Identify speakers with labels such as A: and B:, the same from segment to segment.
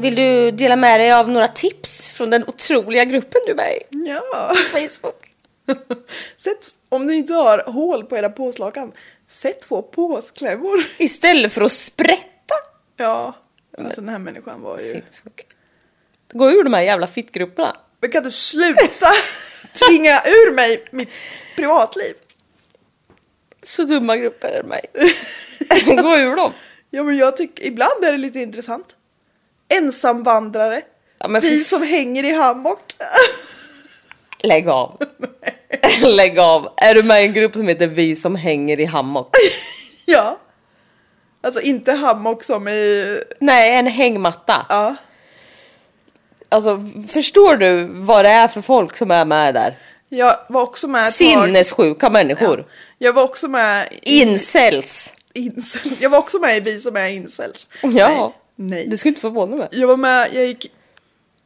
A: Vill du dela med dig av några tips från den otroliga gruppen du är med i
B: Ja.
A: på Facebook?
B: Sätt, om ni inte har hål på era påslakan, sätt två påsklämmor.
A: Istället för att sprätta!
B: Ja, alltså den här människan var ju...
A: Sinnessjuk. Gå ur de här jävla fittgrupperna.
B: Men kan du sluta tvinga ur mig mitt privatliv?
A: Så dumma grupper är mig. Gå ur dem.
B: Ja men jag tycker, ibland är det lite intressant. Ensamvandrare.
A: Ja, men
B: vi
A: fy-
B: som hänger i hammock.
A: Lägg av. Lägg av. Är du med i en grupp som heter Vi som hänger i hammock?
B: ja. Alltså inte hammock som i...
A: Nej, en hängmatta.
B: Ja.
A: Alltså, förstår du vad det är för folk som är med där?
B: Jag var också med ett tag.
A: Sinnessjuka människor.
B: Jag var också med i...
A: Incels.
B: Incel. Jag var också med i Vi som är incels.
A: Ja.
B: Nej.
A: Det
B: Nej.
A: skulle inte förvåna mig.
B: Jag var med, jag gick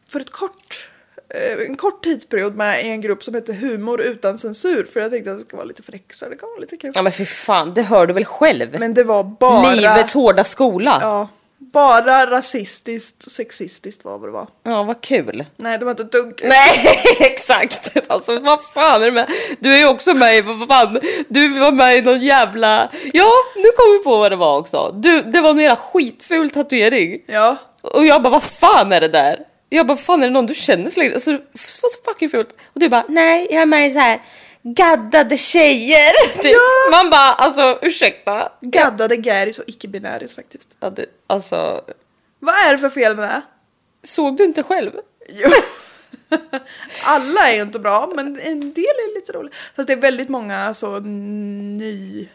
B: för ett kort, eh, en kort tidsperiod med i en grupp som hette Humor utan censur för jag tänkte att det ska vara lite fräck så det kan vara lite kul.
A: Ja men för fan, det hör du väl själv?
B: Men det var bara...
A: Livets hårda skola. Ja.
B: Ja. Bara rasistiskt, sexistiskt var vad det var.
A: vad kul.
B: Nej, det var inte ett dugg.
A: Nej, exakt. Alltså vad fan är det med? Du är ju också med i, vad fan, du var med i någon jävla... Ja, nu kom vi på vad det var också. Du, det var en jävla skitful tatuering.
B: Ja.
A: Och jag bara, vad fan är det där? Jag bara, vad fan är det någon du känner så länge? Alltså, det var så fucking fult. Och du bara, nej, jag är med i så här gaddade tjejer. Typ. Man bara, alltså ursäkta.
B: Gaddade gäris och icke-binäris faktiskt.
A: Ja, det, alltså,
B: Vad är det för fel med det?
A: såg du inte själv?
B: Jo. Alla är ju inte bra, men en del är lite roliga. Fast det är väldigt många så ny...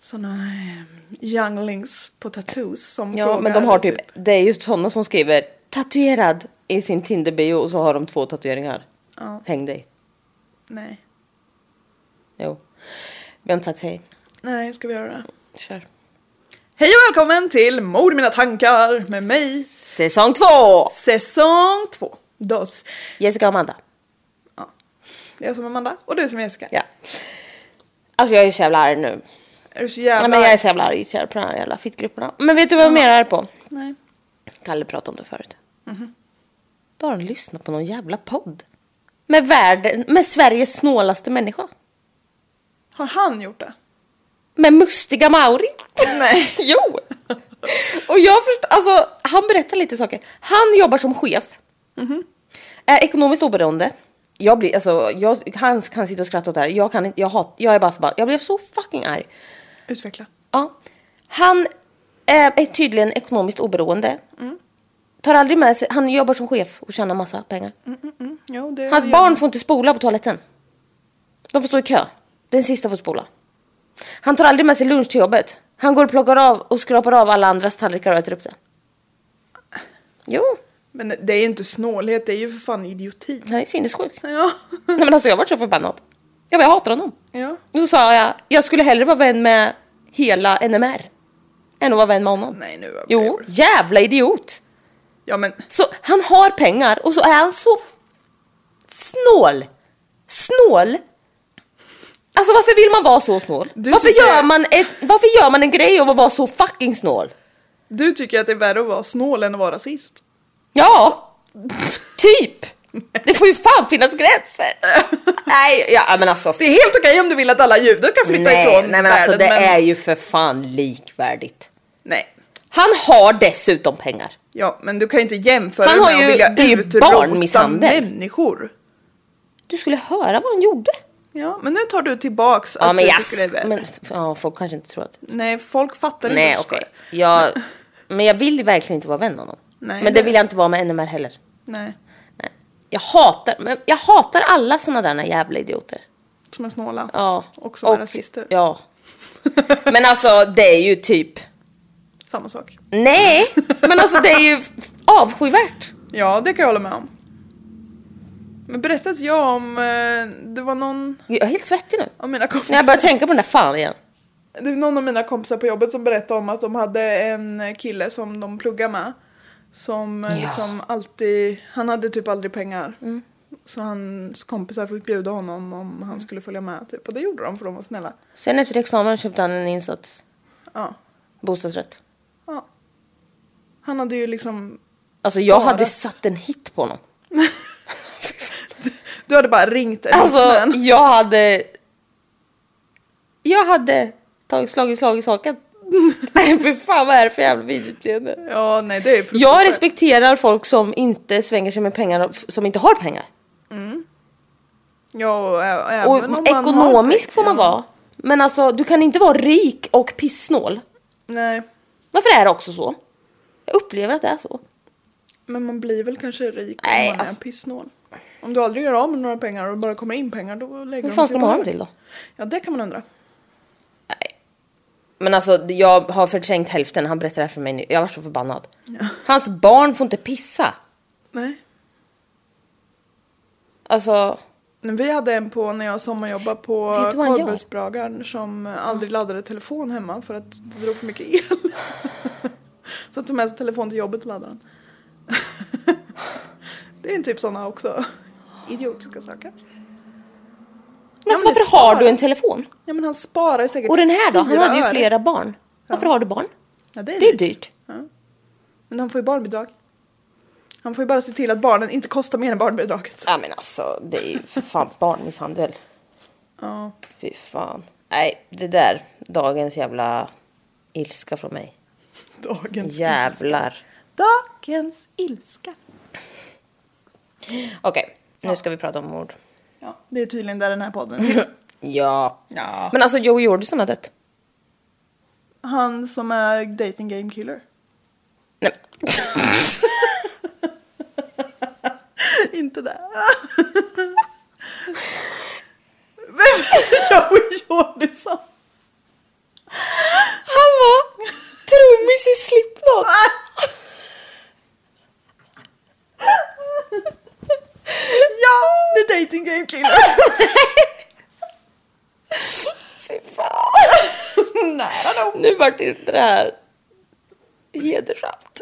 B: Såna eh, younglings på tattoos som
A: Ja,
B: frågar
A: men de har typ,
B: typ-
A: det är ju sådana som skriver tatuerad i sin Tinder-bio och så har de två tatueringar.
B: Ja.
A: Häng dig.
B: Nej.
A: Jo. Vi har inte sagt hej.
B: Nej, ska vi göra det?
A: Kör.
B: Hej och välkommen till Mord i mina tankar med mig,
A: Säsong två!
B: säsong två. Dos.
A: Jessica och Amanda.
B: Det är som Amanda och du som är Jessica.
A: Ja. Alltså jag är så jävla arg nu.
B: Är du så jävla...
A: Nej, men jag är så jävla irriterad på de här jävla fittgrupperna. Men vet du vad jag är mer arg på?
B: Nej.
A: Kalle pratade om det förut. Mhm. Då har han lyssnat på någon jävla podd. Med världen, med Sveriges snålaste människa.
B: Har han gjort det?
A: Med mustiga Mauri.
B: Nej.
A: jo! Och jag förstår, alltså han berättar lite saker. Han jobbar som chef. Är ekonomiskt oberoende. Jag blir, alltså, jag, han kan sitta och skratta åt det här. Jag kan inte, jag hat, jag är bara förbannad. Jag blev så fucking arg.
B: Utveckla.
A: Ja. Han eh, är tydligen ekonomiskt oberoende. Tar aldrig med sig, han jobbar som chef och tjänar massa pengar.
B: Jo, det
A: Hans
B: gör
A: barn
B: man.
A: får inte spola på toaletten. De får stå i kö. Den sista får spola. Han tar aldrig med sig lunch till jobbet. Han går och plockar av och skrapar av alla andras tallrikar och äter upp det. Jo,
B: Men det är ju inte snålhet, det är ju för fan idioti.
A: han är sinnessjuk.
B: Ja.
A: Nej men alltså jag vart så förbannad. Jag bara, jag hatar honom.
B: ja.
A: Då sa jag, jag skulle hellre vara vän med hela NMR. Än att vara vän med honom.
B: Nej, nu överdriver
A: Jo,
B: du.
A: jävla idiot.
B: Ja men
A: Så han har pengar och så är han så f- snål. Snål. Alltså varför vill man vara så snål?
B: Du
A: Varför
B: tycker-
A: gör, man ett, varför gör man en grej av att vara så fucking snål?
B: du tycker att det är värre att vara snål än att vara rasist?
A: Ja, typ. Det får ju fan finnas gränser. Nej, ja, men alltså.
B: Det är helt okej om du vill att alla judar kan flytta
A: nej,
B: ifrån
A: nej men alltså det
B: världen, men...
A: är ju för fan likvärdigt.
B: Nej.
A: Han har dessutom pengar.
B: Ja, men du kan inte jämföra
A: Han har
B: med
A: ju-
B: att vilja
A: det är ju
B: utrota
A: barnmisshandel.
B: människor.
A: Du skulle höra vad han gjorde.
B: Ja, men nu tar du tillbaks
A: Ja
B: att
A: men
B: du
A: jag...
B: tycker det är värre.
A: Men, ja, folk kanske inte tror att...
B: Nej, folk fattar
A: Nej
B: inte
A: okej. Jag... Men jag vill verkligen inte vara vän med honom.
B: Nej,
A: men det
B: nej.
A: vill jag inte vara med NMR heller.
B: Nej,
A: Nej. Jag hatar, men jag hatar alla såna där jävla idioter.
B: som är snåla.
A: Ja.
B: Och som är rasister.
A: Ja. Men alltså det är ju typ...
B: Samma sak.
A: Nej! Men alltså det är ju avskyvärt.
B: Ja, det kan jag hålla med om. Men berättade jag om, eh, det var någon
A: Jag är helt svettig nu.
B: av mina kompisar.
A: När jag börjar tänka på den där fan igen.
B: Det var någon av mina kompisar på jobbet som berättade om att de hade en kille som de pluggade med. Som eh,
A: Ja. Mm.
B: liksom alltid, han hade typ aldrig pengar. Så hans kompisar fick bjuda honom om han skulle följa med typ. Och det gjorde de för de var snälla.
A: Sen efter examen köpte han en insats
B: Ja.
A: bostadsrätt.
B: ja. Han hade ju liksom...
A: Alltså jag
B: Bara.
A: hade satt en hit på honom.
B: Du- Du hade bara ringt en
A: Alltså
B: hitman.
A: jag hade... Jag hade tagit slag i slag i saken. Nej för fan vad är det för jävla videoutseende?
B: Ja, nej det är
A: Jag
B: fruktansvärt.
A: respekterar folk som inte svänger sig med pengar, och f- som inte har pengar.
B: Ja, och ä- även
A: Och
B: om man har
A: ekonomisk
B: pengar.
A: får man vara. Men alltså du kan inte vara rik och pissnål.
B: Nej,
A: Varför är det också så? Jag upplever att det är så.
B: men man blir väl kanske rik
A: Nej,
B: om man
A: alltså-
B: är pissnål. Om du aldrig gör av med några pengar och bara kommer in pengar då lägger
A: Vad fan
B: sig
A: ska man ha
B: bara.
A: dem till då?
B: Ja, det kan man undra.
A: Men alltså jag har förträngt hälften, han berättade det här för mig nu. Jag var så förbannad. Hans barn får inte pissa.
B: Nej.
A: Alltså,
B: Men Vi hade en på när jag sommarjobbade på
A: Vet du vad han gör?
B: korvbussbragaren som aldrig laddade telefon hemma för att det drog för mycket el. Så han tog med sig telefon till jobbet och laddade den. Det är en typ sådana också idiotiska saker. men
A: alltså
B: det
A: varför
B: sparar.
A: har du en telefon?
B: Ja men han sparar ju säkert
A: Och den här då? Han
B: fyra
A: hade ju
B: öre.
A: flera barn. Varför har du barn?
B: Ja, det är
A: Det är
B: dyrt.
A: dyrt.
B: Men han får ju barnbidrag. Han får ju bara se till att barnen inte kostar mer än barnbidraget.
A: Ja men alltså det är ju för fan barnmisshandel.
B: Ja.
A: Fy fan. Nej, det där. Dagens jävla ilska från mig.
B: Dagens
A: Jävlar.
B: Dagens ilska.
A: Okej, nu ska vi prata om mord.
B: Ja, det är tydligen där den här podden
A: Ja.
B: Ja.
A: Men alltså Joe Jordison har dött.
B: Han som är dating game killer.
A: Nej.
B: inte det. Vem är Joey Jordison?
A: Han var trummis i Slipknot.
B: Ja, the dating game killer.
A: Fy fan. Nära nog. Nu vart inte det här hedersamt.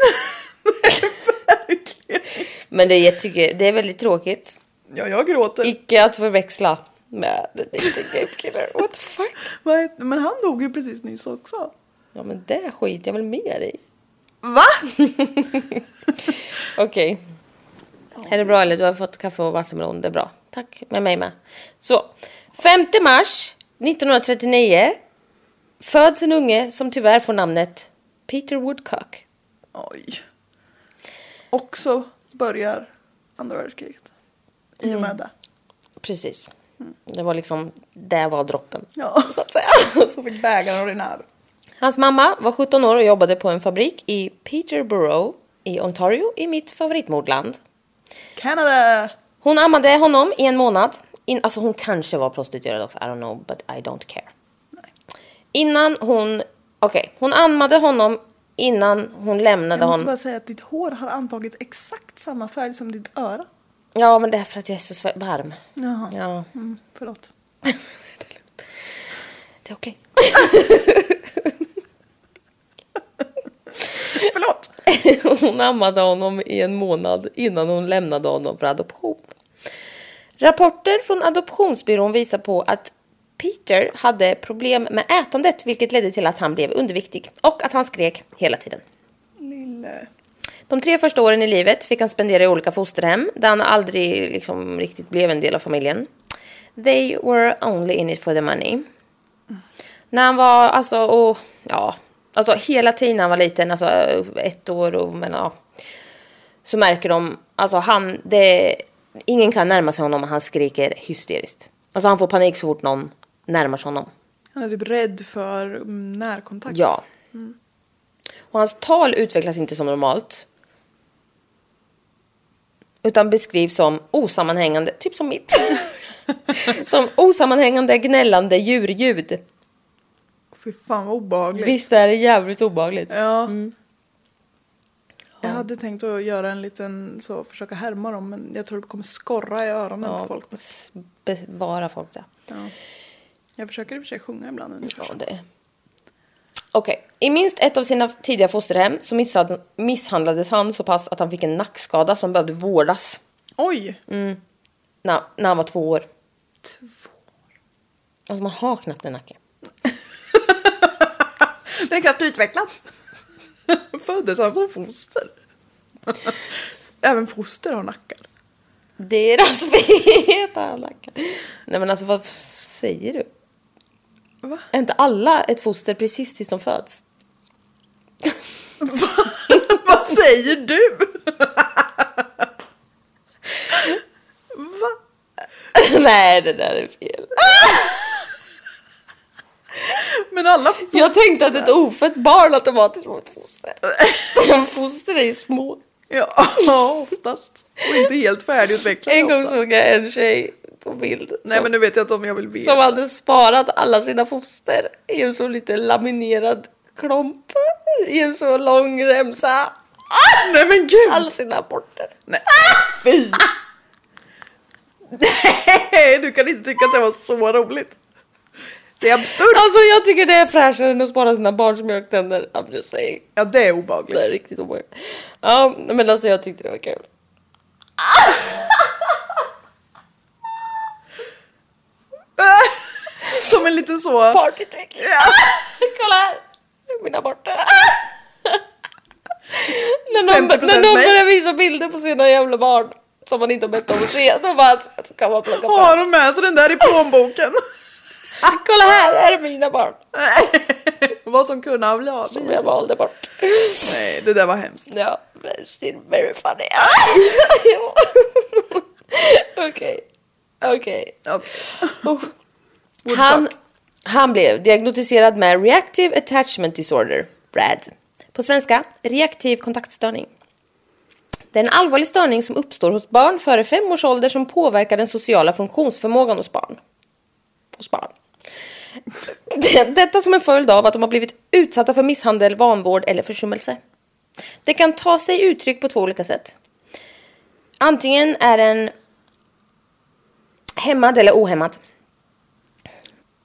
B: Verkligen.
A: Men det är, jag tycker, det är väldigt tråkigt.
B: Ja, jag gråter.
A: Icke att förväxla med The Dating Game Killer. What the fuck?
B: Vad heter- Men han dog ju precis nyss också.
A: Ja men det skiter jag väl mer i.
B: Va?
A: Okej. Är det bra eller? Du har fått kaffe och vattenmelon. Det är bra. Tack. Med mig med. Så. 5 mars 1939 föds en unge som tyvärr får namnet Peter Woodcock.
B: Oj. Också börjar andra världskriget. I och med
A: Mm.
B: det.
A: Precis. Det var liksom, det var droppen.
B: Ja,
A: Så att säga.
B: så fick bägaren rinna
A: Hans mamma var 17 år och jobbade på en fabrik i Peterborough i Ontario i mitt favoritmordland.
B: Canada!
A: Hon ammade honom i en månad. In, alltså hon kanske var prostituerad också, I don't know, but I don't care. Innan hon... Okej, hon ammade honom innan hon lämnade
B: Jag måste
A: honom.
B: bara säga att ditt hår har antagit exakt samma färg som ditt öra.
A: Ja, men det är för att jag är så sve- varm.
B: Jaha.
A: Ja.
B: Mm, förlåt.
A: Det är okej.
B: Förlåt!
A: Hon ammade honom i en månad innan hon lämnade honom för adoption. Rapporter från adoptionsbyrån visar på att Peter hade problem med ätandet vilket ledde till att han blev underviktig och att han skrek hela tiden.
B: Lille...
A: De tre första åren i livet fick han spendera i olika fosterhem där han aldrig liksom riktigt blev en del av familjen. They were only in it for the money. När han var, alltså, och, ja, alltså hela tiden när han var liten, alltså ett år och men ja. Så märker de, alltså han, det, ingen kan närma sig honom och han skriker hysteriskt. Alltså han får panik så fort någon närmar sig honom.
B: Han är typ rädd för mm, närkontakt.
A: Ja. Och hans tal utvecklas inte som normalt. Utan beskrivs som osammanhängande, typ som mitt. som osammanhängande gnällande djurljud.
B: Fy fan vad obehagligt.
A: Visst Mm. är det jävligt obehagligt?
B: Ja. Jag hade tänkt att göra en liten så, försöka härma dem men jag tror det kommer skorra i öronen på folk.
A: s- Bevara folk det.
B: Ja. Jag försöker i och för sig sjunga ibland under
A: Ja,
B: första.
A: det är. Okej, i minst ett av sina tidiga fosterhem så misshan- misshandlades han så pass att han fick en nackskada som behövde vårdas
B: Oj!
A: Mm. när, när han var två år.
B: Två.
A: Alltså man har knappt en nacke.
B: Den är knappt utvecklad. Föddes han som foster? Även foster har nackar.
A: Deras feta lackar. Nej men alltså vad säger du?
B: Va?
A: Är inte alla ett foster precis tills de föds?
B: Vad säger du? Va?
A: Nej det där är fel.
B: Men alla får...
A: Jag tänkte att ett ofött barn automatiskt var ett foster. foster är ju små.
B: Ja, oftast. Och inte helt färdigutvecklade.
A: En gång
B: oftast.
A: såg jag en tjej på bild
B: Nej
A: som,
B: men nu vet jag inte om jag vill veta.
A: som hade sparat alla sina foster i en så liten laminerad klump i en så lång remsa.
B: Nej men gud!
A: Alla sina aborter.
B: Nej. Fy! Nej, du kan inte tycka att det var så roligt. Det är absurt.
A: Alltså jag tycker det är fräschare än att spara sina barns mjölktänder. I'm just saying.
B: Ja, det är
A: Det är
B: obehagligt.
A: riktigt obehagligt. Ja, men alltså jag tyckte det var kul.
B: Som en liten så...
A: Partytrick! Kolla här! Mina aborter. när någon,
B: 50%
A: när någon
B: mig.
A: börjar visa bilder på sina jävla barn som man inte har bett om att se, då bara så så kan man plocka fram.
B: Har de med sig den där i plånboken?
A: Kolla här, här är mina barn
B: Vad som kunde ha blivit.
A: som jag valde bort.
B: Nej, det där var hemskt.
A: Ja, men still very funny. Okej, okej.
B: Okej.
A: Usch.
B: Woodcock.
A: Han, han blev diagnostiserad med Reactive Attachment Disorder, RAD. På svenska, reaktiv kontaktstörning. Det är en allvarlig störning som uppstår hos barn före fem års ålder som påverkar den sociala funktionsförmågan hos barn. Hos barn. Det- Detta som en följd av att de har blivit utsatta för misshandel, vanvård eller försummelse. Det kan ta sig uttryck på två olika sätt. Antingen är den hämmad eller ohämmad.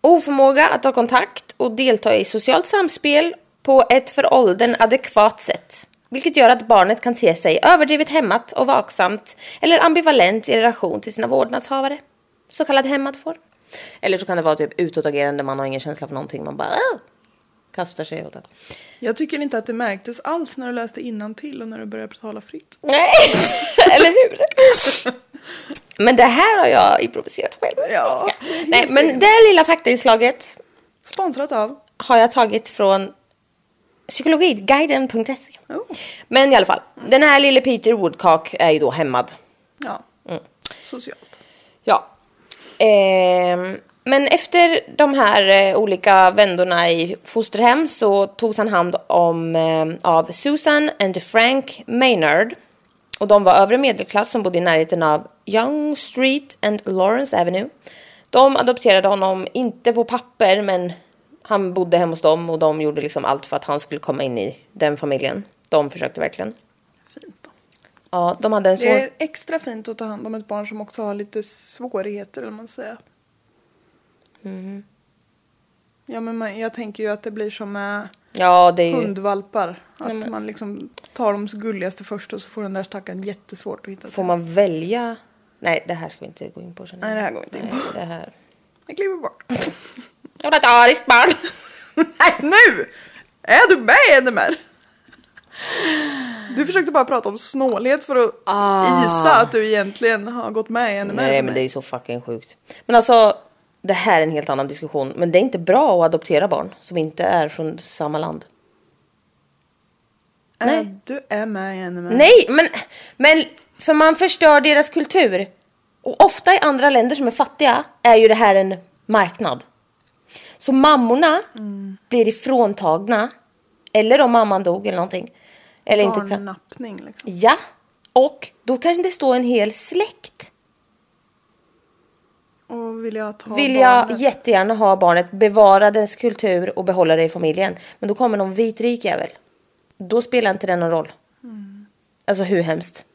A: Oförmåga att ta kontakt och delta i socialt samspel på ett för åldern adekvat sätt. Vilket gör att barnet kan te sig överdrivet hämmat och vaksamt eller ambivalent i relation till sina vårdnadshavare. Så kallad hämmad form. Eller så kan det vara typ utåtagerande, man har ingen känsla för någonting, man bara "Åh!" kastar sig åt det.
B: Jag tycker inte att det märktes alls när du läste innantill och när du började tala fritt.
A: Nej, eller hur? Men det här har jag improviserat själv.
B: Ja.
A: Nej, men det här lilla faktainslaget
B: Sponsrat av...
A: har jag tagit från psykologiguiden.se.
B: Oh.
A: E. Men i alla fall, den här lille Peter Woodcock är ju då hämmad.
B: Ja.
A: Mm.
B: Socialt.
A: Ja. Ehm, men efter de här eh, olika vändorna i fosterhem så togs han hand om eh, av Susan and Frank Maynard. Och de var övre medelklass som bodde i närheten av Young Street and Lawrence Avenue. De adopterade honom, inte på papper men Han bodde hemma hos dem och de gjorde liksom allt för att han skulle komma in i den familjen. De försökte verkligen.
B: Fint.
A: Ja, de hade en son.
B: Det är extra fint att ta hand om ett barn som också har lite svårigheter, eller vad man säger.
A: Mm-hmm.
B: Ja, men man, jag tänker ju att det blir som med
A: Ja, det är ju...
B: hundvalpar. Att man liksom tar de gulligaste först och så får den där stackaren jättesvårt att hitta.
A: Får
B: till.
A: man välja? Nej, det här ska vi inte gå in på. känner jag.
B: Nej, det här går vi inte in på.
A: Nej, det här.
B: Jag kliver bort.
A: Jag vill ha ett ariskt barn!
B: Nej, nu! Är du med Enemer? Du försökte bara prata om snålhet för att isa att du egentligen har gått med i Enemer.
A: Ah. Nej, men det är så fucking sjukt. Men alltså, det här är en helt annan diskussion. Men det är inte bra att adoptera barn som inte är från samma land. nej.
B: Du är med i Enemer.
A: Nej, men, men för man förstör deras kultur. Och ofta i andra länder som är fattiga är ju det här en marknad. Så mammorna
B: Mm.
A: blir ifråntagna. Eller om mamman dog eller någonting. Eller inte kan...
B: Barnnappning liksom.
A: Ja, och då kan det stå en hel släkt.
B: Och vill jag ta
A: Vill jag
B: barnet?
A: jättegärna ha barnet, bevara dess kultur och behålla det i familjen. Men då kommer någon vit rik jävel. Då spelar inte det någon roll. Alltså hur hemskt?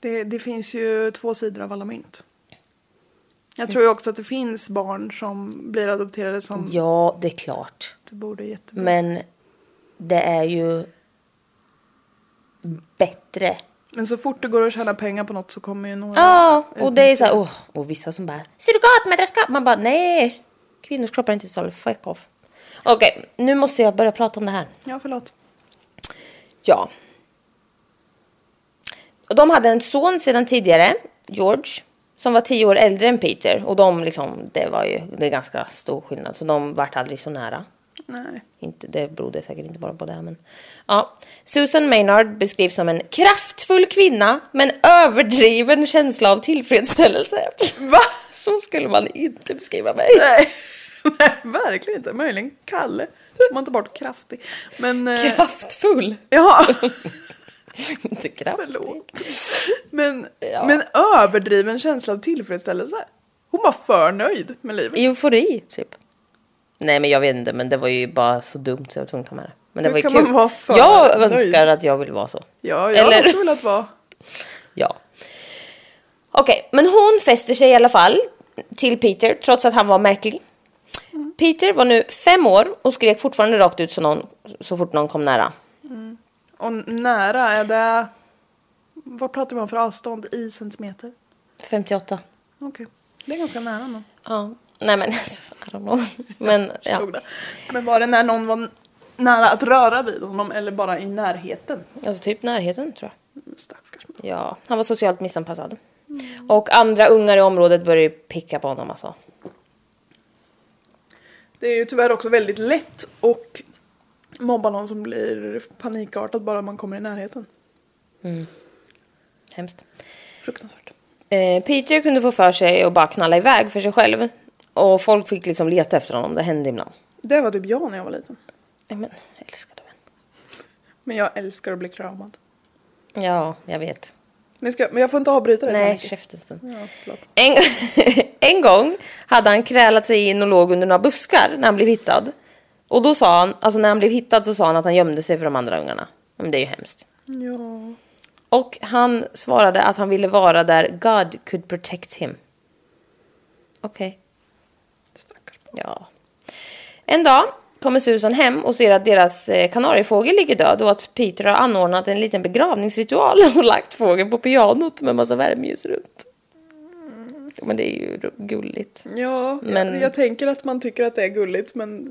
B: Det, det finns ju två sidor av alla mynt. Jag tror ju också att det finns barn som blir adopterade som
A: Ja, det är klart.
B: det borde jättebra.
A: Men det är ju bättre.
B: Men så fort det går att tjäna pengar på något så kommer ju några...
A: Ja, och det är så här, åh, och vissa som bara surrogatmödraskap. Man bara nej, kvinnors kroppar är inte till salu, fuck off. Okej, nu måste jag börja prata om det här.
B: Ja, förlåt.
A: Ja. Och de hade en son sedan tidigare, George, som var tio år äldre än Peter. Och de liksom, det var ju det är ganska stor skillnad, så de vart aldrig så nära.
B: Nej.
A: Inte, det berodde säkert inte bara på det. Men, ja. Susan Maynard beskrivs som en kraftfull kvinna med en överdriven känsla av tillfredsställelse. Va? Så skulle man inte beskriva mig.
B: Nej. Nej, verkligen inte. Möjligen Kalle. Om man tar bort kraftig. Men... eh,
A: Kraftfull.
B: Ja,
A: inte kraft.
B: förlåt. Men,
A: Ja.
B: men överdriven känsla av tillfredsställelse. Hon var för nöjd med livet.
A: Eufori, typ. Nej, men jag vet inte, men det var ju bara så dumt så jag var tvungen att ta med det. Men det
B: Hur
A: var ju
B: kan
A: kul.
B: man vara för
A: jag
B: nöjd?
A: önskar att jag ville vara så.
B: Ja, jag hade
A: Eller-
B: också velat vara...
A: Ja. Okej, men hon fäster sig i alla fall till Peter trots att han var märklig.
B: Mm.
A: Peter var nu fem år och skrek fortfarande rakt ut så, någon, så fort någon kom nära.
B: Och nära, är det... Vad pratar man för avstånd i centimeter?
A: 58.
B: Okej. Det är ganska nära någon.
A: Ja. Nej men alltså, I don't know. Men ja.
B: Förstod det. Men var det när någon var nära att röra vid honom eller bara i närheten?
A: Alltså typ närheten tror jag.
B: Stackars
A: Ja, han var socialt missanpassad. Och andra ungar i området började ju picka på honom alltså.
B: Det är ju tyvärr också väldigt lätt och mobba någon som blir panikartad bara man kommer i närheten.
A: Hemskt.
B: Fruktansvärt.
A: Eh, Peter kunde få för sig att bara knalla iväg för sig själv. Och folk fick liksom leta efter honom, det hände ibland.
B: Det var typ jag när jag var liten.
A: Nej, men älskade vän.
B: Men jag älskar att bli kramad.
A: Ja, jag vet.
B: Men jag, ska, men jag får inte avbryta dig så
A: Nej,
B: mycket.
A: käften stund.
B: Ja, förlåt.
A: En, en gång hade han krälat sig in och låg under några buskar när han blev hittad. Och då sa han, alltså när han blev hittad så sa han att han gömde sig för de andra ungarna. Men det är ju hemskt.
B: Ja.
A: Och han svarade att han ville vara där God could protect him. Okej.
B: Stackars barn.
A: Ja. En dag kommer Susan hem och ser att deras eh, kanariefågel ligger död och att Peter har anordnat en liten begravningsritual och lagt fågeln på pianot med massa värmeljus runt. Jo, Men det är ju ro- gulligt.
B: Ja,
A: Men-
B: jag, jag tänker att man tycker att det är gulligt men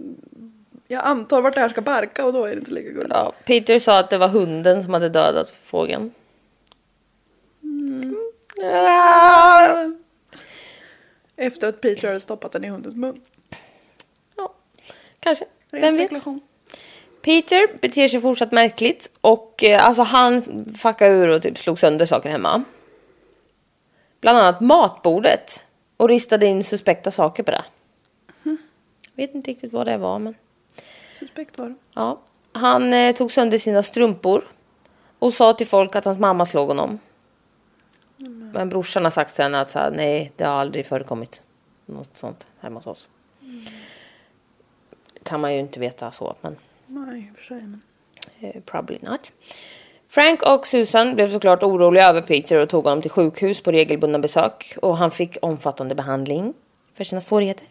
B: jag antar vart det här ska barka och då är det inte lika gulligt.
A: Ja, Peter sa att det var hunden som hade dödat fågeln.
B: Mm.
A: Ah!
B: Efter att Peter hade stoppat den i hundens mun.
A: Ja, kanske.
B: Ren
A: Vem vet?
B: spekulation.
A: Peter beter sig fortsatt märkligt och eh, alltså han fuckade ur och typ slog sönder saker hemma. Bland annat matbordet och ristade in suspekta saker på det.
B: Mhm.
A: Vet inte riktigt vad det var men
B: Suspekt var det.
A: ja. Han eh, tog sönder sina strumpor och sa till folk att hans mamma slog honom. Men brorsan har sagt sen att så här, nej det har aldrig förekommit något sånt hemma hos oss. kan man ju inte veta så, men
B: Nej, i och för sig. Men...
A: eh, probably not. Frank och Susan blev såklart oroliga över Peter och tog honom till sjukhus på regelbundna besök och han fick omfattande behandling för sina svårigheter.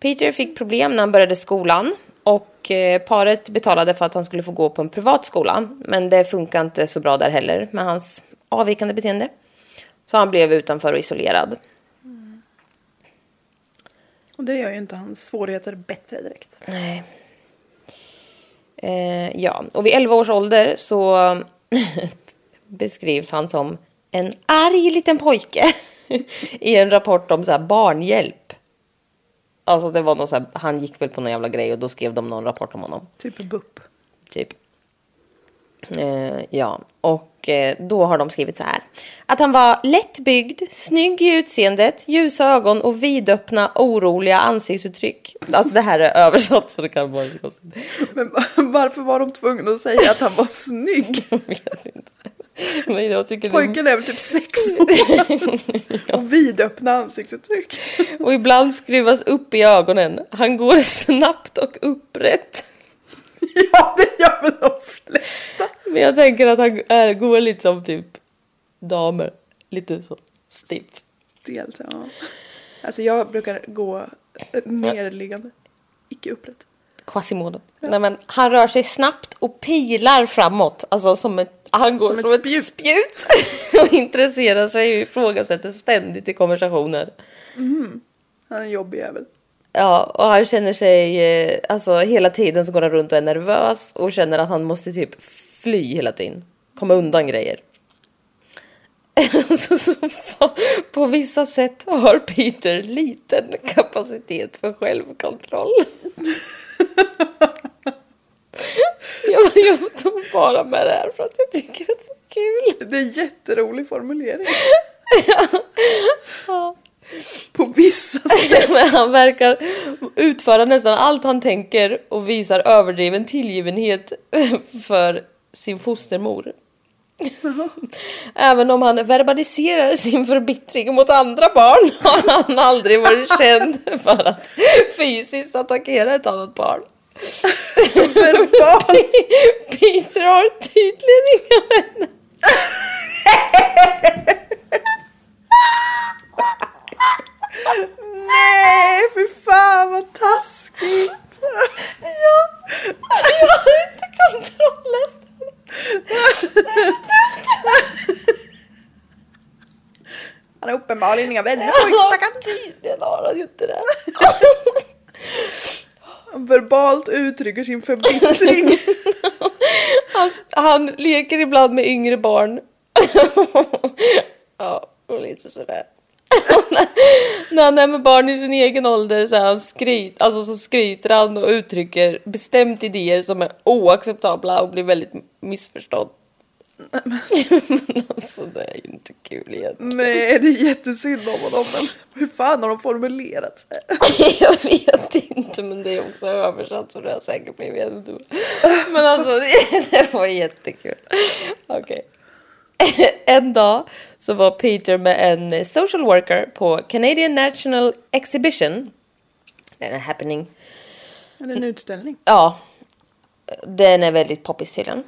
A: Peter fick problem när han började skolan och eh, paret betalade för att han skulle få gå på en privat skola men det funkar inte så bra där heller med hans avvikande beteende. Så han blev utanför och isolerad.
B: Och det gör ju inte hans svårigheter bättre direkt.
A: Nej. Eh, ja, och vid 11 års ålder så beskrivs han som en arg liten pojke i en rapport om så här barnhjälp. Alltså det var någon så här, han gick väl på någon jävla grej och då skrev de någon rapport om honom.
B: Typ BUP.
A: Typ. Eh, ja, och eh, då har de skrivit så här. Att han var lättbyggd, snygg i utseendet, ljusa ögon och vidöppna, oroliga ansiktsuttryck. Alltså det här är översatt så det kan vara lite konstigt.
B: Men varför var de tvungna att säga att han var snygg?
A: Jag vet inte. Men jag tycker det...
B: Pojken är väl typ sex år? Och vidöppna ansiktsuttryck.
A: Och ibland skruvas upp i ögonen. Han går snabbt och upprätt.
B: Ja, det gör väl de flesta.
A: Men jag tänker att han är, går lite som typ damer. Lite så stiff.
B: Dels, ja. Alltså jag brukar gå eh, nerliggande. Icke upprätt.
A: Quasimodo. Nej, men han rör sig snabbt och pilar framåt. Alltså som ett, han går som, ett spjut. och intresserar sig och ifrågasätter ständigt i konversationer.
B: Han är en jobbig jävel.
A: Ja, och han känner sig... eh, Alltså hela tiden så går han runt och är nervös och känner att han måste typ fly hela tiden. Komma undan grejer. så, så, på- på vissa sätt har Peter liten kapacitet för självkontroll. jag, jag tog bara med det här för att jag tycker det är så kul.
B: Det är en jätterolig formulering. På vissa sätt.
A: Men han verkar utföra nästan allt han tänker och visar överdriven tillgivenhet för sin fostermor. Även om han verbaliserar sin förbittring mot andra barn har han aldrig varit känd för att fysiskt attackera ett annat barn.
B: Verbal.
A: Peter har tydligen inga vänner.
B: Nej, fy fan vad taskigt. Ja.
A: Jag har inte kontroll nästan.
B: Han har uppenbarligen inga vänner
A: Ja, Tydligen har han ju inte det.
B: Han verbalt uttrycker sin förbittring.
A: Han, han leker ibland med yngre barn. ja, och lite sådär. När han är med barn i sin egen ålder så, är han skryt, alltså så skryter han och uttrycker bestämt idéer som är oacceptabla och blir väldigt missförstådd. Men alltså det är ju inte kul egentligen.
B: Nej, eh, det är jättesynd om honom men hur fan har de formulerat sig?
A: Jag vet inte men det är också översatt så det har säkert blivit ännu dummare. Men alltså det var jättekul. Okej. En dag så var Peter med en social worker på Canadian National Exhibition. Den är happening.
B: Eller en utställning.
A: Ja. Den är väldigt poppis tydligen.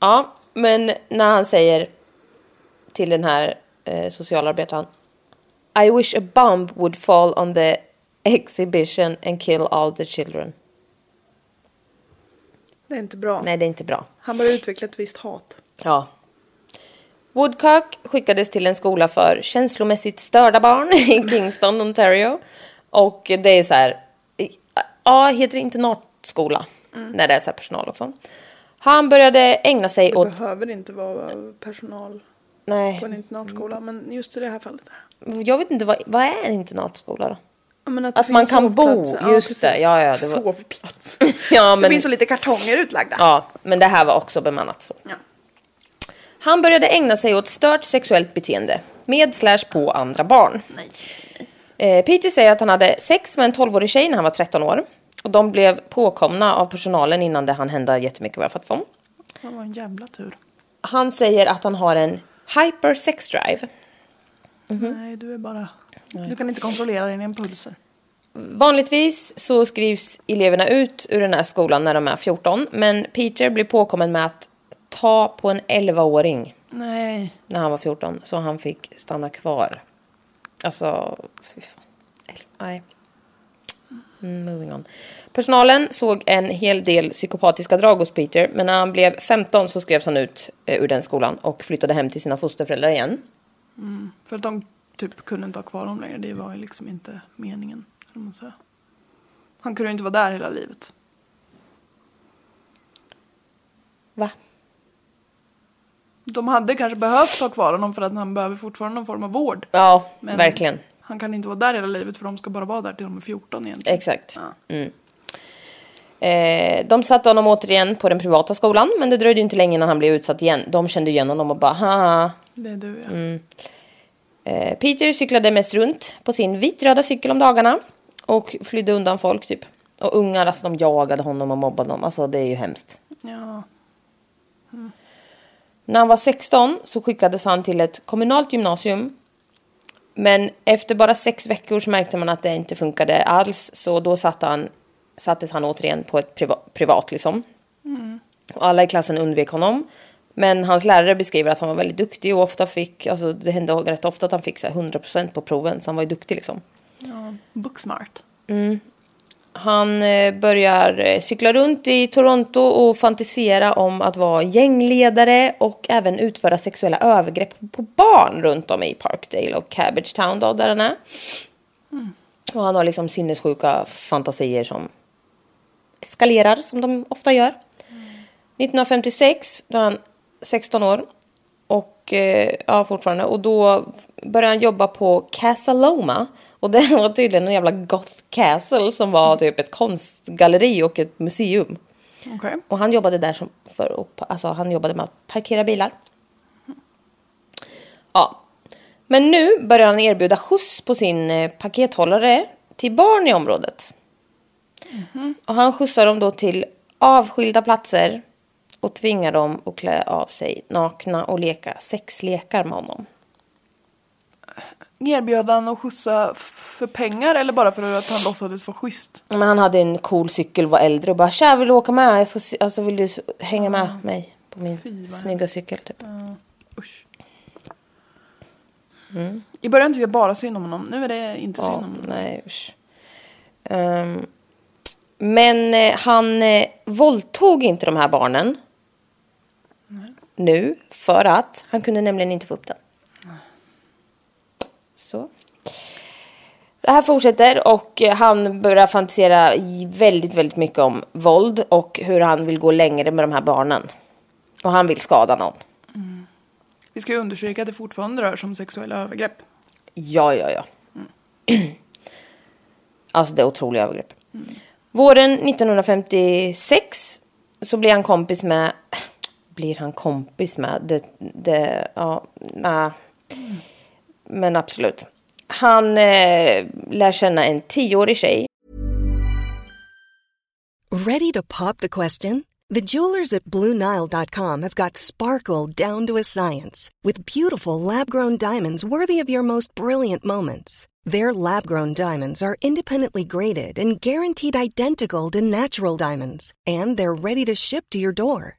A: Ja, men när han säger till den här eh, socialarbetaren I wish a bomb would fall on the exhibition and kill all the children.
B: Det är inte bra.
A: Nej, det är inte bra.
B: Han börjar utveckla ett visst hat.
A: Ja. Woodcock skickades till en skola för känslomässigt störda barn i Kingston, Ontario. Och det är så här, ja, heter det internatskola? När det är så här personal och sånt. Han började ägna sig
B: Det
A: åt...
B: behöver inte vara personal
A: Nej,
B: på en internatskola men just i det här fallet. Där.
A: jag vet inte, vad, vad är en internatskola då?
B: Ja, Men
A: Att man
B: finns
A: kan bo,
B: sovplatser.
A: just
B: precis.
A: det. Ja, ja, det var-
B: Sovplats.
A: Ja, men-
B: Det finns så lite kartonger utlagda.
A: Ja, men det här var också bemannat så.
B: Ja.
A: Han började ägna sig åt stört sexuellt beteende med slash på andra barn.
B: Nej.
A: Eh, Peter säger att han hade sex med en 12-årig tjej när han var 13 år. Och de blev påkomna av personalen innan det han hända jättemycket vad jag fattat som.
B: Det var en jävla tur.
A: Han säger att han har en hyper sex drive. Mhm.
B: Nej, du är bara... Du kan inte kontrollera dina impulser.
A: Vanligtvis så skrivs eleverna ut ur den här skolan när de är 14, men Peter blir påkommen med att ta på en 11-åring
B: Nej.
A: när han var 14, så han fick stanna kvar. Alltså, fy fan. Eller, Nej. Mm, Moving on. Personalen såg en hel del psykopatiska drag hos Peter, men när han blev 15 så skrevs han ut eh, ur den skolan och flyttade hem till sina fosterföräldrar igen.
B: För att de typ kunde inte ha kvar honom längre. Det var ju liksom inte meningen. Eller vad man säger. Han kunde ju inte vara där hela livet.
A: Va?
B: De hade kanske behövt ha kvar honom för att han behöver fortfarande någon form av vård.
A: Ja,
B: Men
A: verkligen.
B: Han kan inte vara där hela livet för de ska bara vara där till de är 14 egentligen.
A: Exakt. Mm.
B: Ja.
A: Eh, de satte honom återigen på den privata skolan, men det dröjde ju inte länge innan han blev utsatt igen. De kände igen honom och bara haha.
B: Det är du ja.
A: Mm. Eh, Peter cyklade mest runt på sin vitröda cykel om dagarna och flydde undan folk typ. Och ungar, alltså de jagade honom och mobbade honom. Alltså det är ju hemskt.
B: ja.
A: När han var 16 så skickades han till ett kommunalt gymnasium. Men efter bara sex veckor så märkte man att det inte funkade alls. Så då satt han, sattes han återigen på ett priva, privat liksom. Och alla i klassen undvek honom. Men hans lärare beskriver att han var väldigt duktig och ofta fick, alltså det hände rätt ofta att han fick så här 100% på proven. Så han var ju duktig liksom.
B: ja. Booksmart.
A: Han eh, börjar eh, cykla runt i Toronto och fantisera om att vara gängledare och även utföra sexuella övergrepp på barn runt om i Parkdale och Cabbage Town då, där han är. Och han har liksom sinnessjuka fantasier som eskalerar som de ofta gör. 1956, då är han 16 år. Och eh, ja, fortfarande. Och då började han jobba på Casaloma. Och det var tydligen en jävla goth castle som var typ ett konstgalleri och ett museum.
B: Okej.
A: Och han jobbade där som för att, alltså han jobbade med att parkera bilar. Ja. Men nu börjar han erbjuda skjuts på sin eh, pakethållare till barn i området.
B: Mm-hmm.
A: Och han skjutsar dem då till avskilda platser och tvingar dem att klä av sig nakna och leka sexlekar med honom.
B: Erbjöd han att skjutsa f- för pengar eller bara för att han låtsades vara schysst?
A: Men han hade en cool cykel, var äldre och bara “Tja, vill du åka med? Jag ska, sy- alltså, vill du s- hänga med mig på min
B: Fy, vad
A: snygga cykel?” typ.
B: Usch. I början tyckte jag bara synd om honom. Nu är det inte synd
A: Mm. Ja,
B: om honom.
A: nej usch. Ehm, Men eh, han eh, våldtog inte de här barnen. Nu, för att han kunde nämligen inte få upp den. Så. Det här fortsätter och eh, han börjar fantisera i- väldigt, väldigt mycket om våld och hur han vill gå längre med de här barnen. Och han vill skada någon.
B: Vi ska ju undersöka att det fortfarande rör sig om sexuella övergrepp.
A: Ja, ja, ja. Alltså det är otroliga övergrepp. Våren 1956 så blir han kompis med... Blir han kompis med? Det, det, ja, nej. Men absolut. Han eh, lär känna en tioårig tjej
C: Ready to pop the question? The jewelers at BlueNile.com have got sparkle down to a science with beautiful lab grown diamonds worthy of your most brilliant moments. Their lab grown diamonds are independently graded and guaranteed identical to natural diamonds, and they're ready to ship to your door.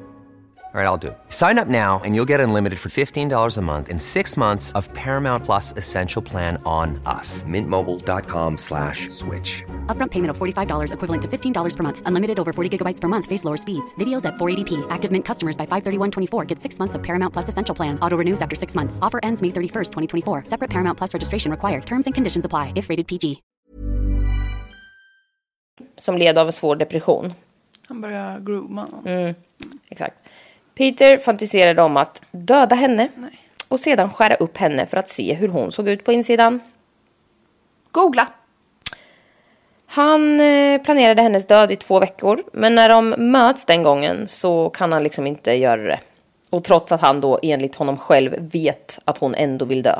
D: All right, I'll do. it. Sign up now and you'll get unlimited for $15 a month in six months of Paramount Plus Essential Plan on us. Mintmobile.com slash switch.
E: Upfront payment of $45 equivalent to $15 per month. Unlimited over 40 gigabytes per month. Face lower speeds. Videos at 480p. Active Mint customers by 531.24 get six months of Paramount Plus Essential Plan. Auto renews after six months. Offer ends May 31st, 2024. Separate Paramount Plus registration required. Terms and conditions apply if rated PG.
A: som led av en svår depression.
B: Han börjar grooma honom.
A: Mm. Exakt. Peter fantiserade om att döda henne
B: Nej.
A: och sedan skära upp henne för att se hur hon såg ut på insidan.
B: Googla!
A: Han eh, planerade hennes död i två veckor, men när de möts den gången så kan han liksom inte göra det. Och trots att han då enligt honom själv vet att hon ändå vill dö.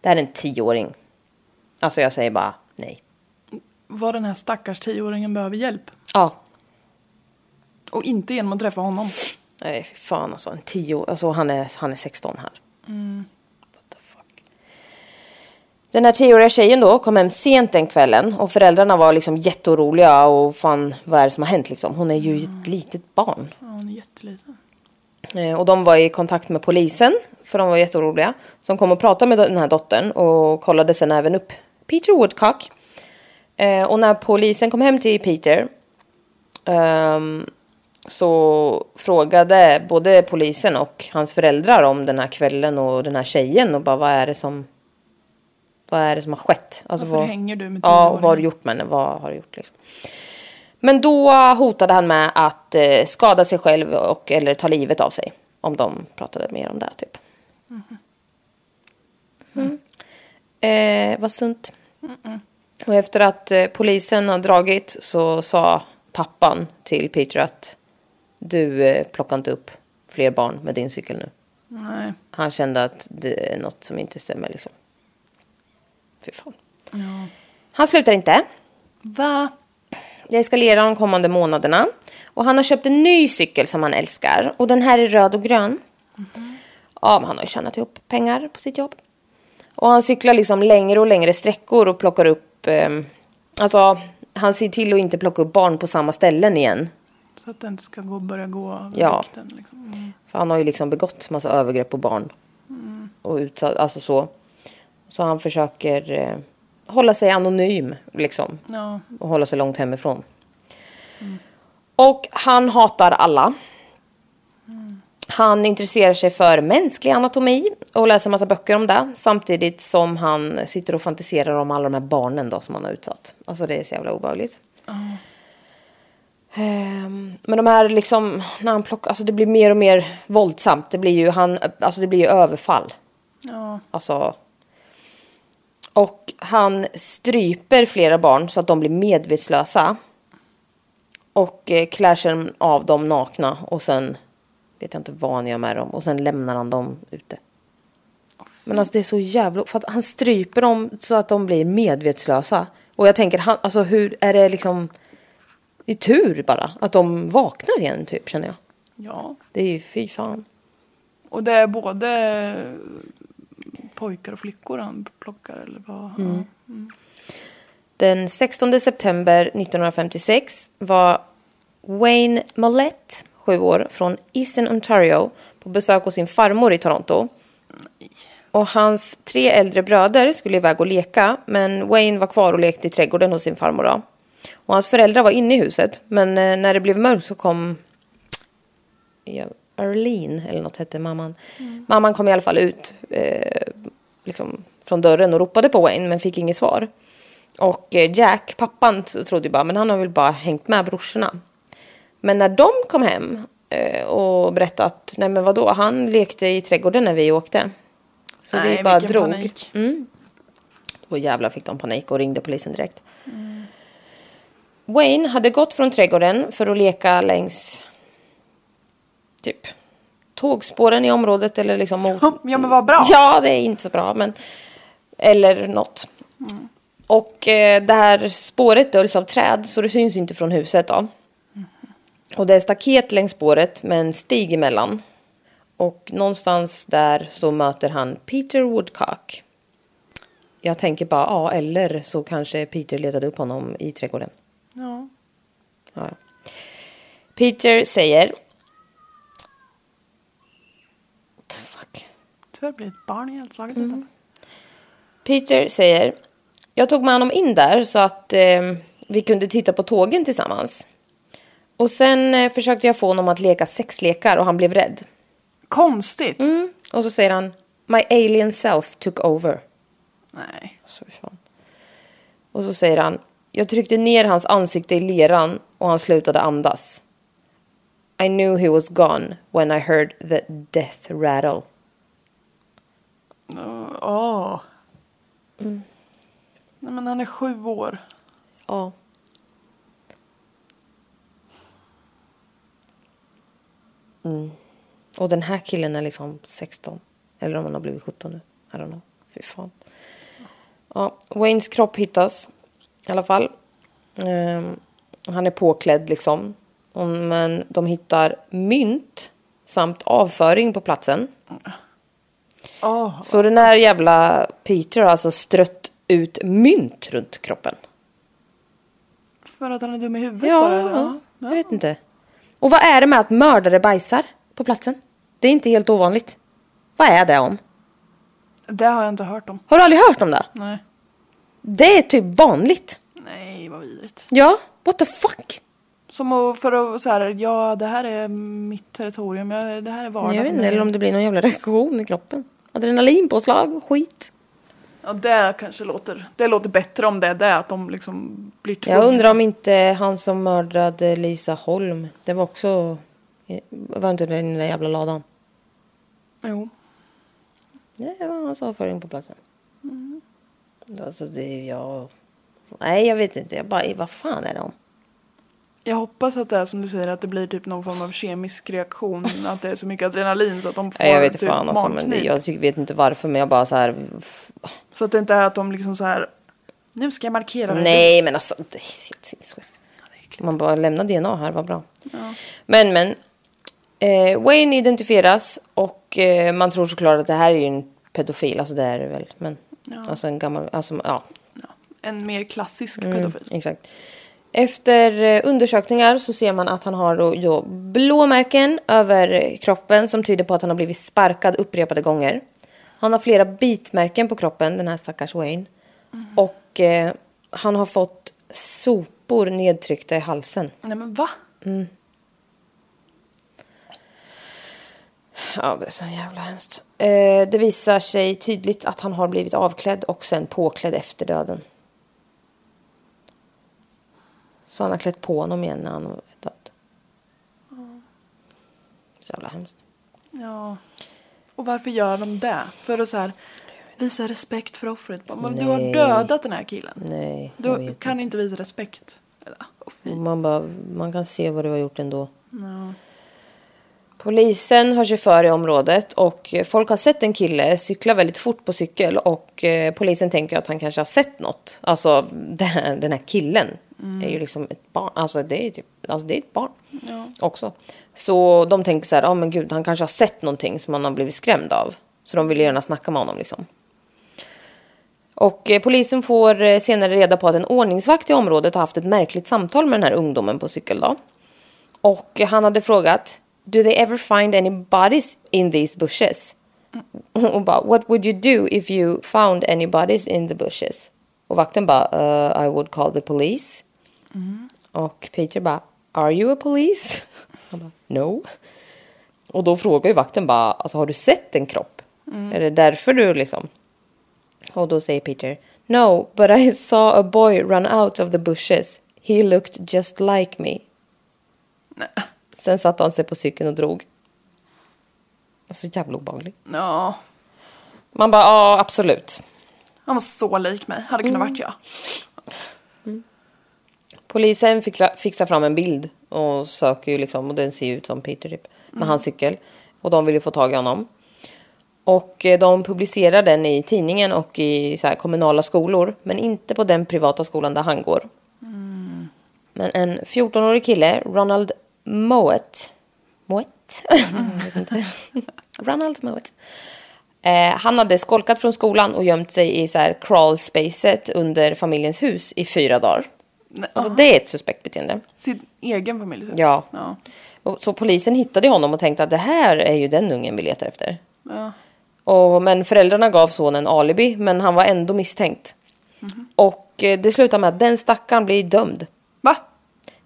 A: Det här är en tioåring. Alltså jag säger bara nej.
B: Vad den här stackars tioåringen behöver hjälp.
A: Ja,
B: Och inte genom att träffa honom.
A: nej fy fan alltså. En tio, alltså han är, han är 16 här. What the fuck. Den här tioåriga tjejen då kom hem sent den kvällen och föräldrarna var liksom jätteoroliga och fan vad är det som har hänt liksom. Hon är ju ett litet barn.
B: Ja, hon är jätteliten.
A: Eh, Och de var i kontakt med polisen, för de var jätteoroliga. Som kom och pratade med den här dottern och kollade sen även upp Peter Woodcock. Eh, Och när polisen kom hem till Peter ehm, så frågade både polisen och hans föräldrar om den här kvällen och den här tjejen och bara vad är det som vad är det som har skett? Alltså,
B: Varför
A: vad,
B: hänger du med
A: Ja, och vad har du
B: tioåringen?
A: gjort med henne? Vad har du gjort liksom? Men då hotade han med att eh, skada sig själv och eller ta livet av sig. Om de pratade mer om det typ. Mm. Eh, vad sunt. Och efter att eh, polisen har dragit så sa pappan till Peter att du eh, plockar inte upp fler barn med din cykel nu.
B: Nej.
A: Han kände att det är något som inte stämmer liksom. Fy fan. Han slutar inte.
B: Va?
A: Det eskalerar de kommande månaderna. Och han har köpt en ny cykel som han älskar. Och den här är röd och grön. Ja, men han har ju tjänat ihop pengar på sitt jobb. Och han cyklar liksom längre och längre sträckor och plockar upp... ehm, alltså, han ser till att inte plocka upp barn på samma ställen igen.
B: Så att den inte ska gå, börja gå av
A: Ja.
B: vikten, liksom. Mm.
A: För han har ju liksom begått massa övergrepp på barn. Och utsatt, alltså så. Så han försöker eh, hålla sig anonym liksom.
B: Ja.
A: Och hålla sig långt hemifrån. Och han hatar alla. Han intresserar sig för mänsklig anatomi och läser massa böcker om det. Samtidigt som han sitter och fantiserar om alla de här barnen då som han har utsatt. Alltså det är så jävla obehagligt. Ehm, Men de här liksom, när han plockar, alltså det blir mer och mer våldsamt. Det blir ju, han, alltså det blir ju överfall.
B: Ja.
A: Alltså. Och han stryper flera barn så att de blir medvetslösa. Och eh, klär sig av dem nakna och sen vet jag inte vad han gör med dem och sen lämnar han dem ute. Men alltså det är så jävla... För att han stryper dem så att de blir medvetslösa. Och jag tänker, han, alltså hur är det liksom... Det är tur bara att de vaknar igen typ känner jag.
B: ja.
A: Det är ju fy fan.
B: Och det är både pojkar och flickor han plockar eller vad?
A: Mm.
B: Ja.
A: Den 16 september 1956 var Wayne Mollett, sju år, från Eastern Ontario på besök hos sin farmor i Toronto. Och hans tre äldre bröder skulle iväg och leka, men Wayne var kvar och lekte i trädgården hos sin farmor. Då. Och hans föräldrar var inne i huset, men eh, när det blev mörkt så kom ja, Arlene, eller något hette mamman. Mamman kom i alla fall ut eh, liksom, från dörren och ropade på Wayne men fick inget svar. Och eh, Jack, pappan, t- trodde ju bara men han har väl bara hängt med brorsorna. Men när de kom hem eh, och berättade att nej men vadå, han lekte i trädgården när vi åkte. Så vi
B: Nej,
A: bara
B: vilken
A: drog. Mm.
B: panik.
A: Och jävlar fick de panik och ringde polisen direkt. Wayne hade gått från trädgården för att leka längs typ tågspåren i området eller liksom mot...
B: Ja men vad bra.
A: Ja, det är inte så bra men... Eller något. Och eh, det här spåret döljs av träd så det syns inte från huset då. Och det är staket längs spåret med en stig emellan. Och någonstans där så möter han Peter Woodcock. Jag tänker bara, ja, eller så kanske Peter letade upp honom i trädgården.
B: Ja.
A: Ja. ja. Peter säger... Fuck.
B: Tyvärr blir ett barn ihjälslaget
A: Mm.
B: utanför.
A: Peter säger, jag tog med honom in där så att eh, vi kunde titta på tågen tillsammans. Och sen eh, försökte jag få honom att leka sexlekar och han blev rädd.
B: Konstigt.
A: Mm. Och så säger han, my alien self took over.
B: Nej.
A: Så fy fan. Och så säger han, jag tryckte ner hans ansikte i leran och han slutade andas. I knew he was gone when I heard the death rattle.
B: Åh.
A: Mm.
B: Nej men han är sju år.
A: Ja. Mm. Och den här killen är liksom 16. Eller om han har blivit 17 nu. I don't know. Fy fan. Ja, Waynes kropp hittas i alla fall. Ehm, han är påklädd liksom. Om- Men de hittar mynt samt avföring på platsen.
B: Åh,
A: Så den här jävla Peter har alltså strött ut mynt runt kroppen.
B: för att han är dum i huvudet
A: Ja,
B: bara? eller?
A: ja, jag vet inte. Och vad är det med att mördare bajsar på platsen? Det är inte helt ovanligt. Vad är det om?
B: Det har jag inte hört om.
A: Har du aldrig hört om det?
B: Nej.
A: Det är typ vanligt.
B: Nej, vad vidrigt.
A: Ja, what the fuck?
B: Som att, för att så här, ja det här är mitt territorium, jag, det här är vardag
A: Jag vet
B: för
A: inte,
B: mig.
A: eller om det blir någon jävla reaktion i kroppen. Adrenalinpåslag och skit.
B: Ja, det kanske låter, det låter bättre om det, det är att de liksom blir tvungna.
A: Jag undrar om inte han som mördade Lisa Holm, det var också... Var inte den där jävla ladan?
B: Jo.
A: Det var hans avföring på platsen. Mm. Alltså det, jag... Nej, jag vet inte. Jag bara, vad fan är det om?
B: Jag hoppas att det är som du säger, att det blir typ någon form av kemisk reaktion, att det är så mycket adrenalin så att de får
A: Nej, jag vet inte
B: typ
A: fan alltså, men det,
B: magknip.
A: jag tycker, vet inte varför, men jag bara så här...
B: Så att det inte är att de liksom så här, nu ska jag markera. det."
A: Nej, men alltså, det är helt sinnessjukt. Man bara lämna DNA här, vad bra. Men, men. Eh, Wayne identifieras och eh, man tror såklart att det här är ju en pedofil, alltså det är det väl. Men, Alltså en gammal, alltså ja,
B: Ja, en mer klassisk
A: Mm.
B: pedofil.
A: exakt. Efter eh, undersökningar så ser man att han har då, då blåmärken över eh, kroppen som tyder på att han har blivit sparkad upprepade gånger. Han har flera bitmärken på kroppen, den här stackars Wayne. Och eh, han har fått sopor nedtryckta i halsen.
B: Nej men va?
A: Ja, det är så jävla hemskt. Eh, det visar sig tydligt att han har blivit avklädd och sen påklädd efter döden. Så han har klätt på honom igen när han är död. Så jävla hemskt.
B: Ja. Och varför gör de det? För att så här, visa respekt för offret. Bara, Men du
A: Nej.
B: har dödat den här killen.
A: Nej, jag
B: Du
A: vet
B: kan inte visa respekt. Eller, åh, fy.
A: Man, bara, man kan se vad du har gjort ändå.
B: Ja.
A: Polisen hör sig för i området och folk har sett en kille cykla väldigt fort på cykel och eh, polisen tänker att han kanske har sett något. Alltså den här, den här killen är ju liksom ett barn, alltså det är ju typ, alltså det är ett barn också. Så de tänker så här, ja men gud han kanske har sett någonting som han har blivit skrämd av. Så de vill gärna snacka med honom liksom. Och eh, polisen får eh, senare reda på att en ordningsvakt i området har haft ett märkligt samtal med den här ungdomen på cykel då. Och han hade frågat Do they ever find any bodies in these bushes? Och bara What would you do if you found any bodies in the bushes? Och vakten bara "Uh, I would call the police. Och Peter bara Are you a police? Han bara No. Och då frågar ju vakten bara alltså, Har du sett en kropp? Är det därför du liksom? Och då säger Peter No, but I saw a boy run out of the bushes. He looked just like me. Sen satte han sig på cykeln och drog. Så jävla obehaglig.
B: ja.
A: Man bara, ja absolut.
B: Han var så lik mig. Hade
A: Mm.
B: kunnat varit jag.
A: Polisen fick- fixar fram en bild och söker ju liksom och den ser ju ut som Peter typ. Med hans cykel. Och de vill ju få tag i honom. Och eh, de publicerar den i tidningen och i så här kommunala skolor. Men inte på den privata skolan där han går. Men en 14-årig kille, Ronald Moet. Moet? Jag vet inte. Ronald Moet. Eh, han hade skolkat från skolan och gömt sig i så här crawl spacet under familjens hus i fyra dagar.
B: Nej,
A: Alltså
B: ja.
A: det är ett suspekt beteende.
B: Sin egen familj. typ.
A: Ja.
B: ja.
A: Och, så polisen hittade honom och tänkte att det här är ju den ungen vi letar efter.
B: Ja.
A: Och, men föräldrarna gav sonen alibi, men han var ändå misstänkt.
B: Mhm.
A: Och eh, det slutar med att den stackaren blir dömd.
B: Va?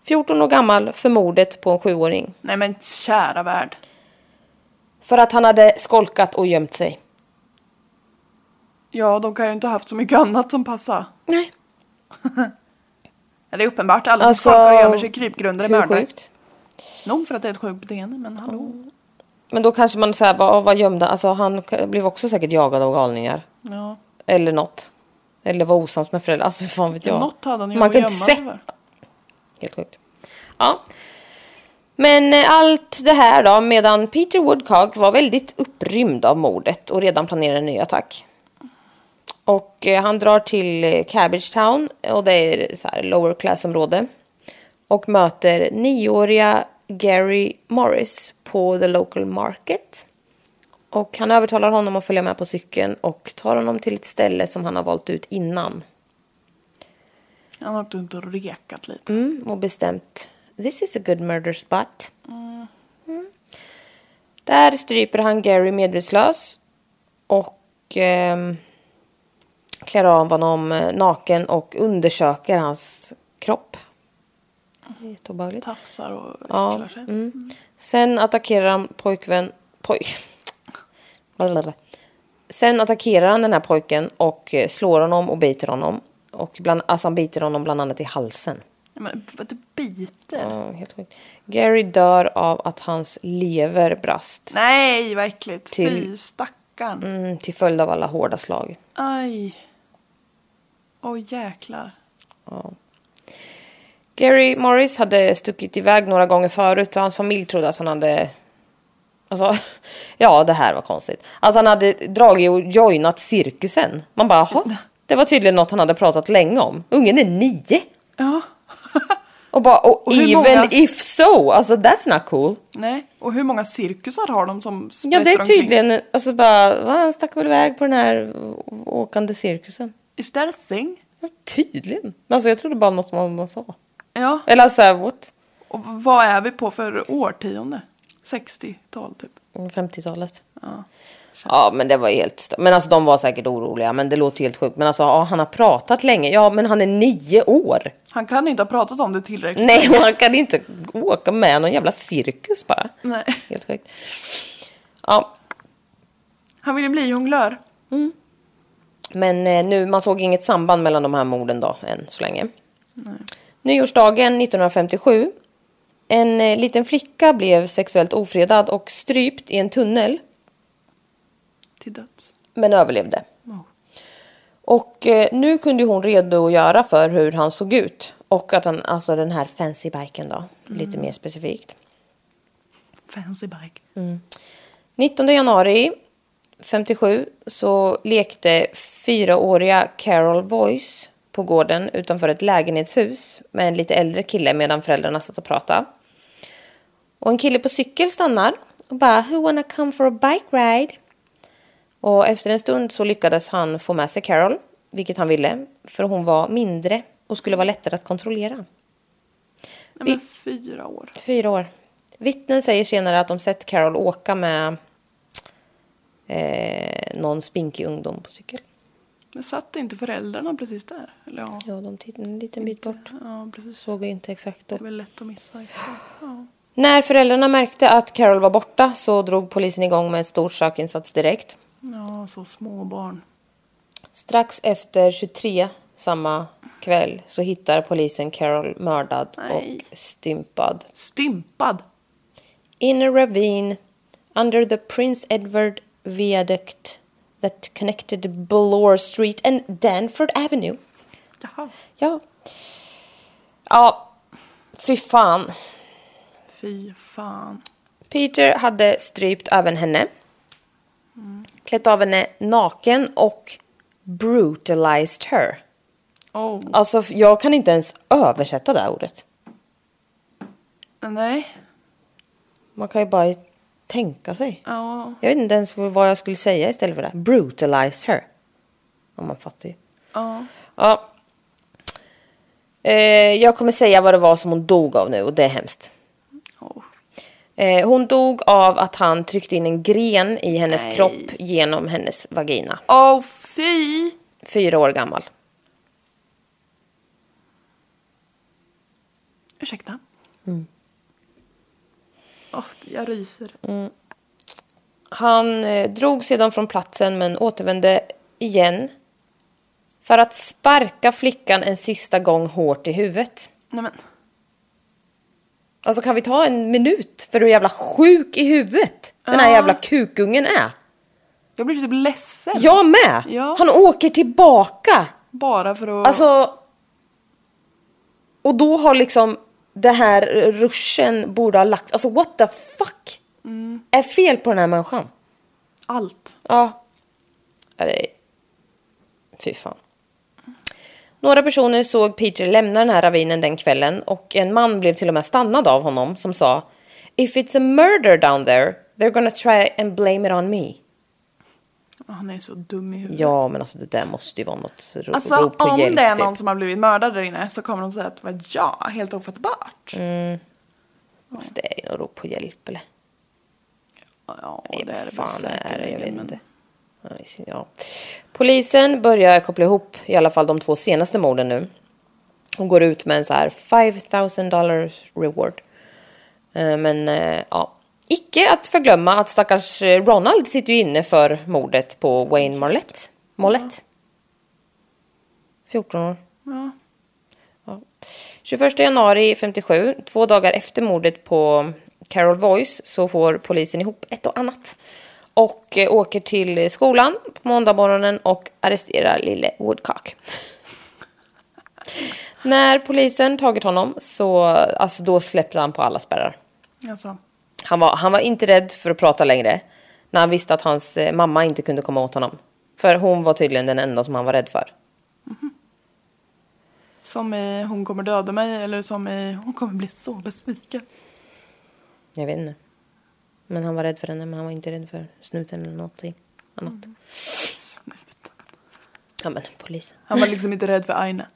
A: 14 år gammal för mordet på en sjuåring.
B: Nej men kära värld.
A: För att han hade skolkat och gömt sig.
B: Ja, de kan ju inte ha haft så mycket annat som passar.
A: Nej.
B: Ja, Det är uppenbart. Alla
A: Alltså,
B: alltså, skolkar och gömmer sig i krypgrunder är
A: Hur
B: mördare.
A: sjukt?
B: Nog för att det är ett sjukt beteende, men hallå.
A: Men då kanske man säger vad, vad gömde Alltså han k- blev också säkert jagad av galningar.
B: Ja.
A: Eller något. Eller var osams med föräldrar. Alltså fan vet jag.
B: Något hade han ju
A: Man
B: att
A: kan
B: gömma
A: inte sätta
B: sig för.
A: Helt sjukt. Ja. Men eh, allt det här då, medan Peter Woodcock var väldigt upprymd av mordet och redan planerade en ny attack. Och eh, han drar till eh, Cabbage Town och det är så här lower class område. Och möter nioåriga Gary Morris på the local market. Och han övertalar honom att följa med på cykeln och tar honom till ett ställe som han har valt ut innan.
B: Han har åkt runt och rekat lite.
A: Mm, och bestämt this is a good murder spot. Mm. Där stryper han Gary medvetslös och ehm, klär av honom eh, naken och undersöker hans kropp. Det är jätteobehagligt.
B: Tafsar och
A: Ja,
B: äcklar sig.
A: Mm. Sen attackerar han pojkvän... Poj... Blablabla. Sen attackerar han den här pojken och eh, slår honom och biter honom. Och bland, alltså han biter honom bland annat i halsen.
B: Ja, Men vad du biter.
A: Ja, helt sjukt. Gary dör av att hans lever brast.
B: Nej, vad äckligt. Fy
A: Till-
B: stackarn.
A: Mm, till följd av alla hårda slag.
B: Aj. Åh jäklar.
A: Gary Morris hade stuckit iväg några gånger förut och hans familj trodde att han hade... Alltså, ja det här var konstigt. Att han hade dragit och joinat cirkusen. Man bara, jaha. Det var tydligen något han hade pratat länge om. Ungen är nio!
B: Ja.
A: Och bara, och,
B: Och hur
A: even
B: många-
A: if so! Alltså that's not cool.
B: Nej. Och hur många cirkusar har de som
A: Ja det är
B: omkring?
A: tydligen, alltså bara, va, han stack väl iväg på den här å- åkande cirkusen.
B: Is that a thing?
A: Ja, Tydligen. Alltså jag trodde bara något som man- man sa.
B: Ja.
A: Eller såhär what?
B: Och vad är vi på för årtionde? 60-tal typ.
A: 50-talet. Mm, Ja. men det var ju helt... st- Men alltså de var säkert oroliga men det låter ju helt sjukt. Men alltså ja, han har pratat länge. Ja men han är nio år.
B: Han kan inte ha pratat om det tillräckligt.
A: Nej man kan inte åka med någon jävla cirkus bara.
B: Nej.
A: Helt sjukt. Ja
B: Han ville bli jonglör.
A: men eh, nu man såg inget samband mellan de här morden då än så länge. Nyårsdagen 1957. En eh, liten flicka blev sexuellt ofredad och strypt i en tunnel.
B: Till döds.
A: men överlevde.
B: Ja.
A: Och eh, nu kunde ju hon redogöra för hur han såg ut. Och att han, alltså den här fancy biken då, lite mer specifikt.
B: Fancy bike.
A: 19 januari 57 så lekte fyraåriga Carol Voice på gården utanför ett lägenhetshus med en lite äldre kille medan föräldrarna satt och pratade. Och en kille på cykel stannar och bara “Who wanna come for a bike ride?” Och efter en stund så lyckades han få med sig Carol, vilket han ville, för hon var mindre och skulle vara lättare att kontrollera.
B: Nej men fyra år.
A: Fyra år. Vittnen säger senare att de sett Carol åka med eh, någon spinkig ungdom på cykel.
B: Men satt inte föräldrarna precis där? Eller ja.
A: Ja, de tittade en liten bit bort.
B: Ja precis.
A: Såg inte exakt då.
B: Det är väl lätt att missa. Ja.
A: När föräldrarna märkte att Carol var borta så drog polisen igång med en stor sökinsats direkt.
B: ja, så små barn.
A: Strax efter 23 samma kväll så hittar polisen Carol mördad
B: Nej.
A: och stympad.
B: Stympad.
A: In a ravine under the Prince Edward Viaduct that connected Ballore Street and Danford Avenue.
B: Jaha.
A: Ja. Ja, fy fan.
B: Fy fan.
A: Peter hade strypt även henne. Klätt av henne naken och brutalized her.
B: Oh.
A: Alltså, f- jag kan inte ens översätta det här ordet.
B: Nej.
A: Man kan ju bara tänka sig.
B: Ja.
A: Jag vet inte ens vad jag skulle säga istället för det. här. Brutalized her. Ja, man fattar ju.
B: Ja.
A: Ja. Eh, jag kommer säga vad det var som hon dog av nu och det är hemskt.
B: Oh.
A: Eh, hon dog av att han tryckte in en gren i hennes
B: Nej.
A: kropp genom hennes vagina.
B: Åh Oh, fy!
A: Fyra år gammal.
B: Ursäkta.
A: Mm.
B: Åh, jag ryser.
A: Han eh, drog sedan från platsen men återvände igen för att sparka flickan en sista gång hårt i huvudet.
B: Nej men.
A: Alltså kan vi ta en minut för hur jävla sjuk i huvudet den här
B: Ja.
A: jävla kukungen är?
B: Jag blir typ ledsen.
A: Jag med!
B: Ja.
A: Han åker tillbaka!
B: Bara för att...
A: Alltså... Och då har liksom det här ruschen borde ha lagt... Alltså what the fuck?
B: Mm.
A: Är fel på den här människan?
B: Allt.
A: Ja. Ja, det är Fy fan. Några personer såg Peter lämna den här ravinen den kvällen och en man blev till och med stannad av honom som sa If it's a murder down there, they're gonna try and blame it on me.
B: Han är så dum i huvudet.
A: Ja, men alltså det där måste ju vara något ro-
B: Alltså
A: rop på
B: om
A: hjälp
B: det är
A: typ.
B: någon som har blivit mördad där inne så kommer de säga att det var jag, helt ofattbart.
A: Mm. Alltså, det är ju något rop på hjälp eller?
B: Ja,
A: Nej,
B: det är det
A: fan är
B: väl
A: det? Jag vet
B: säkerligen, men-
A: inte. Nej, sin- Ja. Polisen börjar koppla ihop i alla fall de två senaste morden nu. Hon går ut med en så här 5000 dollars reward. Eh, Men eh, ja, icke att förglömma att stackars eh, Ronald sitter ju inne för mordet på Wayne Marlett. Mollett. 14 år.
B: Ja.
A: Ja. 21 januari 57, två dagar efter mordet på Carol Voice, så får polisen ihop ett och annat. Och eh, åker till skolan på måndagmorgonen och arresterar lille Woodcock. När polisen tagit honom så alltså då släppte han på alla spärrar.
B: Alltså,
A: Han var, han var inte rädd för att prata längre när han visste att hans eh, mamma inte kunde komma åt honom. För hon var tydligen den enda som han var rädd för.
B: som i hon kommer döda mig eller som i hon kommer bli så besviken.
A: Jag vet inte. Men han var rädd för henne, men han var inte rädd för snuten eller någonting annat.
B: Snut.
A: Ja, men polisen.
B: Han var liksom inte rädd för Aina.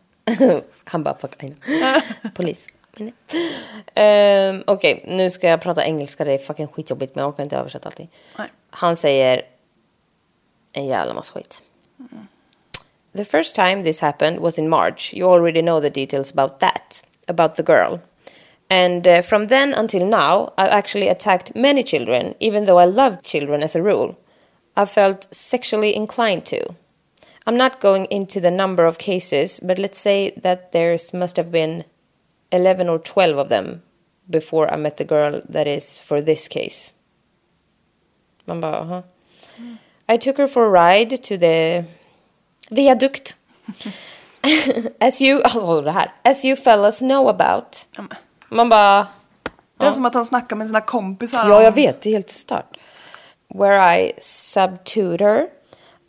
A: han bara, fuck, I know. Polis. Men nej. Ehm, Okej, nu ska jag prata engelska. Det är fucking skitjobbigt, men jag orkar inte översätta allting.
B: Nej.
A: Han säger en jävla massa skit. The first time this happened was in March. You already know the details about that, about the girl. And uh, from then until now, I've actually attacked many children, even though I love children as a rule. I felt sexually inclined to. I'm not going into the number of cases, but let's say that there's must have been 11 or 12 of them before I met the girl that is for this case. Man bara, aha. I took her for a ride to the viaduct. as you, alltså det här, as you fellas know about.
B: Ja, men-
A: Man bara,
B: Det är som att han snackar med sina kompisar.
A: Ja, jag vet. Det är helt stört. Where I subdued her.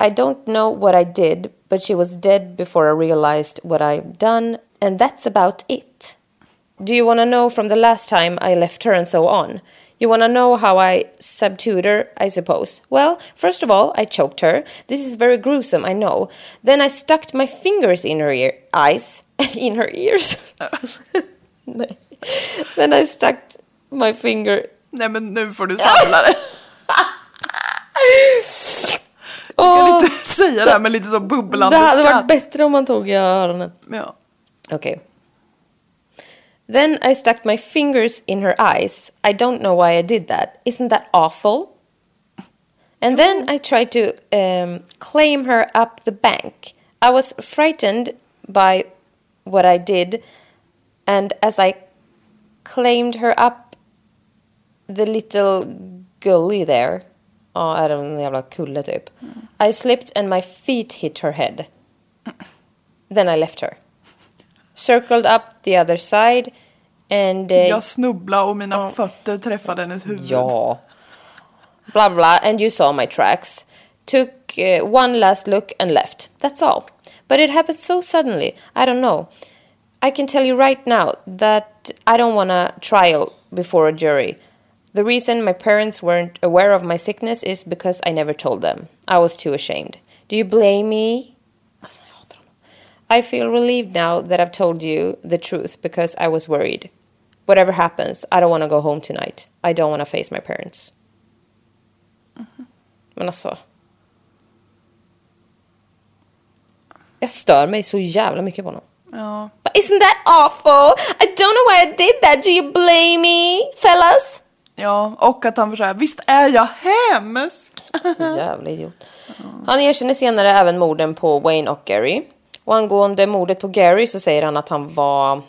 A: I don't know what I did, but she was dead before I realized what I've done, and that's about it. Do you want to know from the last time I left her and so on? You want to know how I subdued her, I suppose. Well, first of all, I choked her. This is very gruesome, I know. Then I stuck my fingers in her ear, eyes, in her ears. Nej. then I stuck my finger
B: Nej men nu får du samla dig. Jag kan inte säga det här med lite så
A: Det
B: bubblande
A: hade varit
B: skratt.
A: bättre om man tog i öronen.
B: Ja.
A: Okej. Then I stuck my fingers in her eyes. I don't know why I did that. Isn't that awful? And then I tried to um, claim her up the bank. I was frightened by what I did, and as I claimed her up the little gully there. Ja, är det en jävla kulle typ. I slipped and my feet hit her head. Then I left her. Circled up the other side and... eh,
B: Jag snubblade och mina fötter träffade hennes huvud.
A: Ja. Blah blah, and you saw my tracks. Took uh, one last look and left. That's all. But it happened so suddenly. I don't know. I can tell you right now that I don't want a trial before a jury. The reason my parents weren't aware of my sickness is because I never told them. I was too ashamed. Do you blame me? Alltså, jag hatar honom. I feel relieved now that I've told you the truth because I was worried. Whatever happens, I don't want to go home tonight. I don't want to face my parents. Men alltså. Jag stör mig så jävla mycket på honom.
B: Ja.
A: But isn't that awful? I don't know why I did that. Do you blame me, fellas?
B: ja. Och att han försöker, visst är jag hemsk?
A: Jävla idiot. Han erkänner senare även morden på Wayne och Gary. Och angående mordet på Gary så säger han att han var...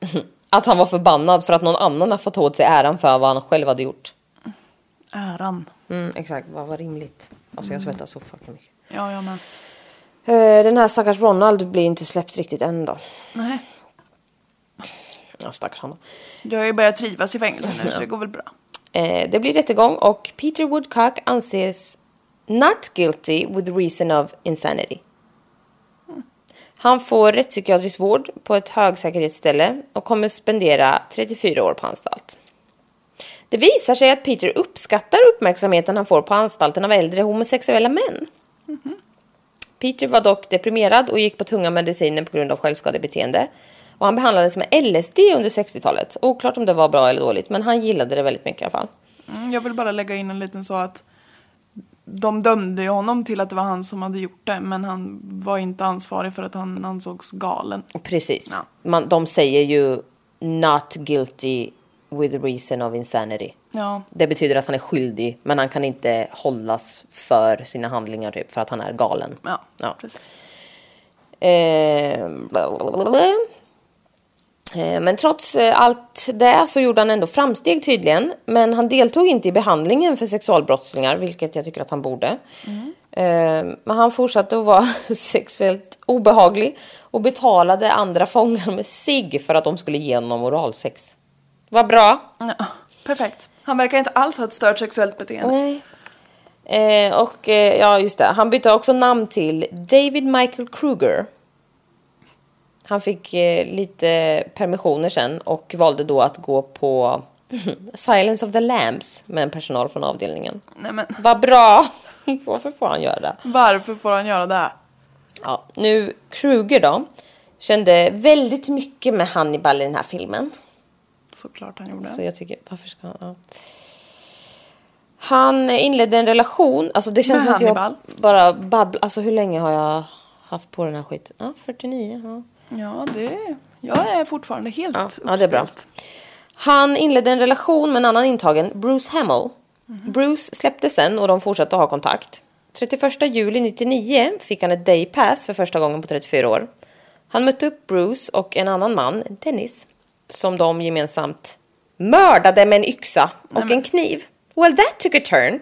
A: att han var förbannad för att någon annan har fått åt sig äran för vad han själv hade gjort.
B: Äran.
A: Mm, exakt, vad var rimligt? Alltså jag svettas så fucking mycket.
B: Ja, jag med.
A: Eh, Den här stackars Ronald blir inte släppt riktigt än då.
B: Nej.
A: Ja, stackars honom.
B: Jag har ju börjat trivas i fängelse nu så det går väl bra.
A: Eh, Det blir rättegång och Peter Woodcock anses not guilty with reason of insanity. Han får rättspsykiatrisk vård på ett högsäkerhetsställe och kommer spendera 34 år på anstalt. Det visar sig att Peter uppskattar uppmärksamheten han får på anstalten av äldre homosexuella män. Peter var dock deprimerad och gick på tunga mediciner på grund av självskadebeteende. Och han behandlades med LSD under 60-talet. Oklart om det var bra eller dåligt, men han gillade det väldigt mycket i alla fall.
B: Mm, jag vill bara lägga in en liten så att de dömde ju honom till att det var han som hade gjort det men han var inte ansvarig för att han ansågs galen.
A: Precis.
B: Ja.
A: Man, de säger ju not guilty with reason of insanity.
B: Ja,
A: Det betyder att han är skyldig, men han kan inte hållas för sina handlingar typ, för att han är galen.
B: ja,
A: Ja.
B: precis.
A: Eh, blablabla. Eh, Men trots eh, allt det så gjorde han ändå framsteg tydligen. Men han deltog inte i behandlingen för sexualbrottslingar, vilket jag tycker att han borde. Eh, Men han fortsatte att vara sexuellt obehaglig och betalade andra fångar med sig för att de skulle ge honom oralsex. Vad bra!
B: Ja, perfekt. Han verkar inte alls ha ett stört sexuellt beteende.
A: Nej. Eh, och eh, ja, just det. Han bytte också namn till David Michael Kruger. Han fick eh, lite permissioner sen och valde då att gå på Silence of the Lambs med en personal från avdelningen.
B: Nej men
A: Vad bra! Varför får han göra det?
B: varför får han göra det?
A: Ja, nu Kruger då. Kände väldigt mycket med Hannibal i den här filmen.
B: Såklart han gjorde.
A: Så jag tycker, varför ska han... Ja. Han inledde en relation, alltså det känns
B: Med
A: som att jag
B: Hannibal.
A: bara babblar. Alltså hur länge har jag haft på den här skiten? Ja, 49. Ja.
B: Ja, det... Jag är fortfarande helt
A: Ja, ja, det är bra.
B: uppspelt.
A: Han inledde en relation med en annan intagen, Bruce Hamill. Bruce släpptes sen och de fortsatte att ha kontakt. 31 juli 99 fick han ett day pass för första gången på 34 år. Han mötte upp Bruce och en annan man, Dennis, som de gemensamt mördade med en yxa och en kniv. Well that took a turn.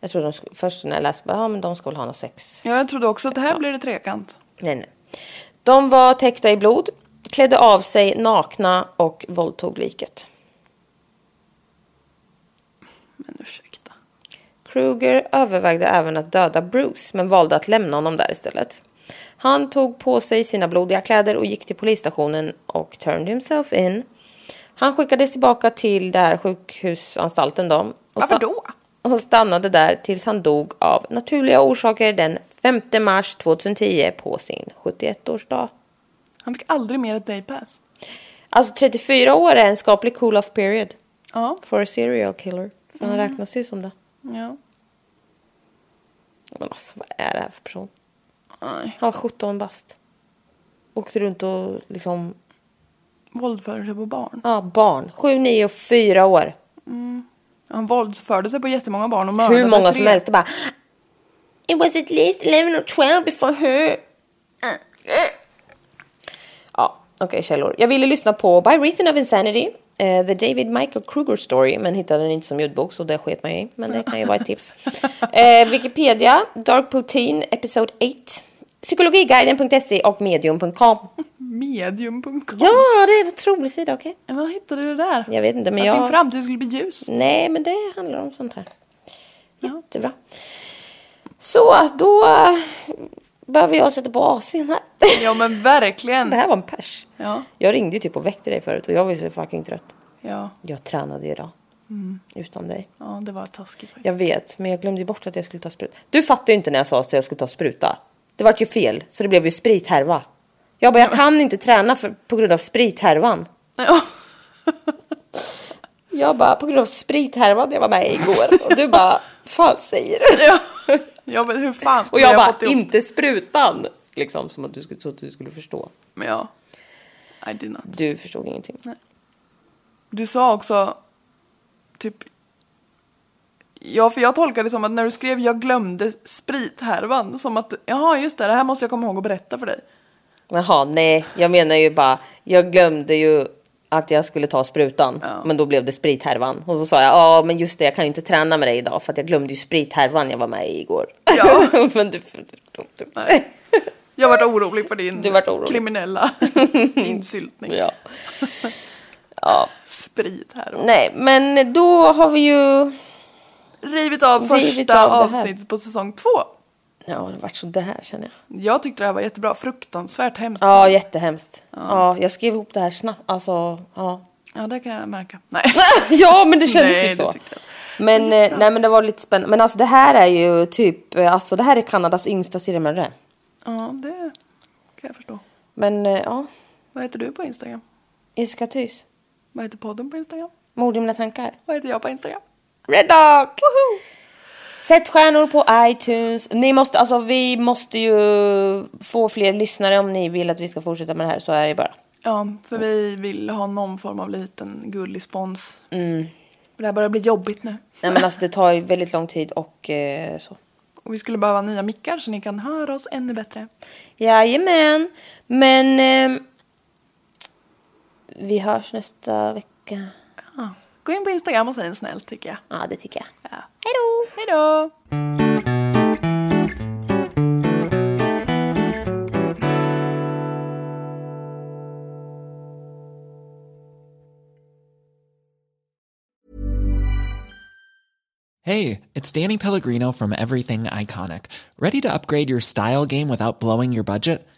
A: Jag tror de sk- först när jag läste, bara, ja men de ska väl ha något sex.
B: Ja, jag trodde också att det här blir det trekant.
A: Nej, nej. De var täckta i blod, klädde av sig nakna och våldtog liket.
B: Men ursäkta.
A: Kruger övervägde även att döda Bruce men valde att lämna honom där istället. Han tog på sig sina blodiga kläder och gick till polisstationen och turned himself in. Han skickades tillbaka till det här sjukhusanstalten då. Och
B: Varför
A: sta-
B: då?
A: Och stannade där tills han dog av naturliga orsaker den 5 mars 2010 på sin 71-årsdag.
B: Han fick aldrig mer ett daypass.
A: Alltså 34 år är en skaplig cool-off period
B: Ja,
A: for a serial killer. För han räknas ju som det.
B: ja.
A: Men alltså vad är det här för person?
B: Nej.
A: Han var 17 bast. Åkte runt och liksom,
B: Våldförde sig på barn.
A: ja barn. 7, 9 och 4 år.
B: Han våldsförde sig på jättemånga barn och mördade
A: Hur många
B: tre.
A: som helst och bara It was at least 11 or 12 before her. Ah. Ja, okej källor. Jag ville lyssna på By Reason of Insanity, eh, The David Michael Kruger Story, men hittade den inte som ljudbok så det sket man ju i. Men det kan ju vara ett tips. Eh, Wikipedia, Dark Protein, Episode 8, Psykologiguiden.se E och Medium.com.
B: Medium.com.
A: Ja, det är en otrolig sida, okej?
B: Vad hittade du där?
A: Jag vet inte, men
B: att
A: jag...
B: din framtid skulle bli ljus.
A: Nej, men det handlar om sånt här.
B: Ja.
A: Jättebra. Så, då eh, behöver jag sätta på AC'n här.
B: Ja men verkligen.
A: Det här var en pers.
B: Ja.
A: Jag ringde ju typ och väckte dig förut och jag var ju så fucking trött.
B: Ja.
A: Jag tränade ju idag.
B: Mm.
A: Utan dig.
B: ja, det var taskigt faktiskt.
A: Jag vet, men jag glömde ju bort att jag skulle ta spruta. Du fattade ju inte när jag sa att jag skulle ta spruta. Det vart ju fel, så det blev ju sprithärva. Jag bara, jag kan inte träna för, på grund av sprithärvan.
B: Ja.
A: Jag bara, på grund av sprithärvan jag var med i igår. Och du bara, fan säger du?
B: Ja. ja men hur fan
A: Och
B: skulle
A: jag
B: fått
A: bara,
B: ihop
A: inte sprutan! Liksom som att du skulle, så att du skulle förstå.
B: Men ja. I did not.
A: Du förstod ingenting.
B: Du sa också typ Ja, för jag tolkade det som att när du skrev jag glömde sprithärvan som att jaha just det, det här måste jag komma ihåg och berätta för dig.
A: Jaha, nej, jag menar ju bara, jag glömde ju att jag skulle ta sprutan.
B: Ja.
A: Men då blev det sprithärvan. Och så sa jag, ja men just det, jag kan ju inte träna med dig idag för att jag glömde ju sprithärvan jag var med i igår.
B: Ja.
A: men du, du, du, du.
B: Nej. Jag vart orolig för din
A: Du vart orolig.
B: kriminella insyltning.
A: Ja.
B: Sprithärvan.
A: Nej, men då har vi ju...
B: Rivit av
A: Rivit
B: första
A: av det här.
B: avsnittet på säsong två.
A: Ja, det har varit sådär känner jag.
B: Jag tyckte det här var jättebra. Fruktansvärt hemskt.
A: Ja, jättehemskt. Ja. jag skrev ihop det här snabbt. Alltså, ja.
B: Ja, det kan jag märka. Nej.
A: ja, men det kändes
B: Nej,
A: ju
B: det
A: så.
B: tyckte jag.
A: Men, eh, nej, men det var lite spännande. Men alltså det här är ju typ, eh, alltså det här är Kanadas yngsta seriemördare.
B: Ja, det kan jag förstå.
A: Men eh, ja,
B: Vad heter du på Instagram?
A: Jessica Thys.
B: Vad heter podden på Instagram?
A: Mord i mina tankar.
B: Vad heter jag på Instagram?
A: Red Dog! Sätt stjärnor på iTunes. Ni måste, alltså, vi måste ju få fler lyssnare om ni vill att vi ska fortsätta med det här. Så är det bara.
B: Ja, för vi vill ha någon form av liten gullig spons.
A: Mm.
B: Det här börjar bli jobbigt nu.
A: Nej, men alltså, det tar ju väldigt lång tid och eh, så.
B: Och vi skulle behöva nya mickar så ni kan höra oss ännu bättre.
A: Jajamän. Men ehm, vi hörs nästa vecka.
B: Ja. Gå in på Instagram och säg en snäll tycker jag.
A: Ja, det tycker jag.
B: Ja.
A: Hej då!
B: Hej då!
F: Hey, it's Danny Pellegrino from Everything Iconic. Ready to upgrade your style game without blowing your budget?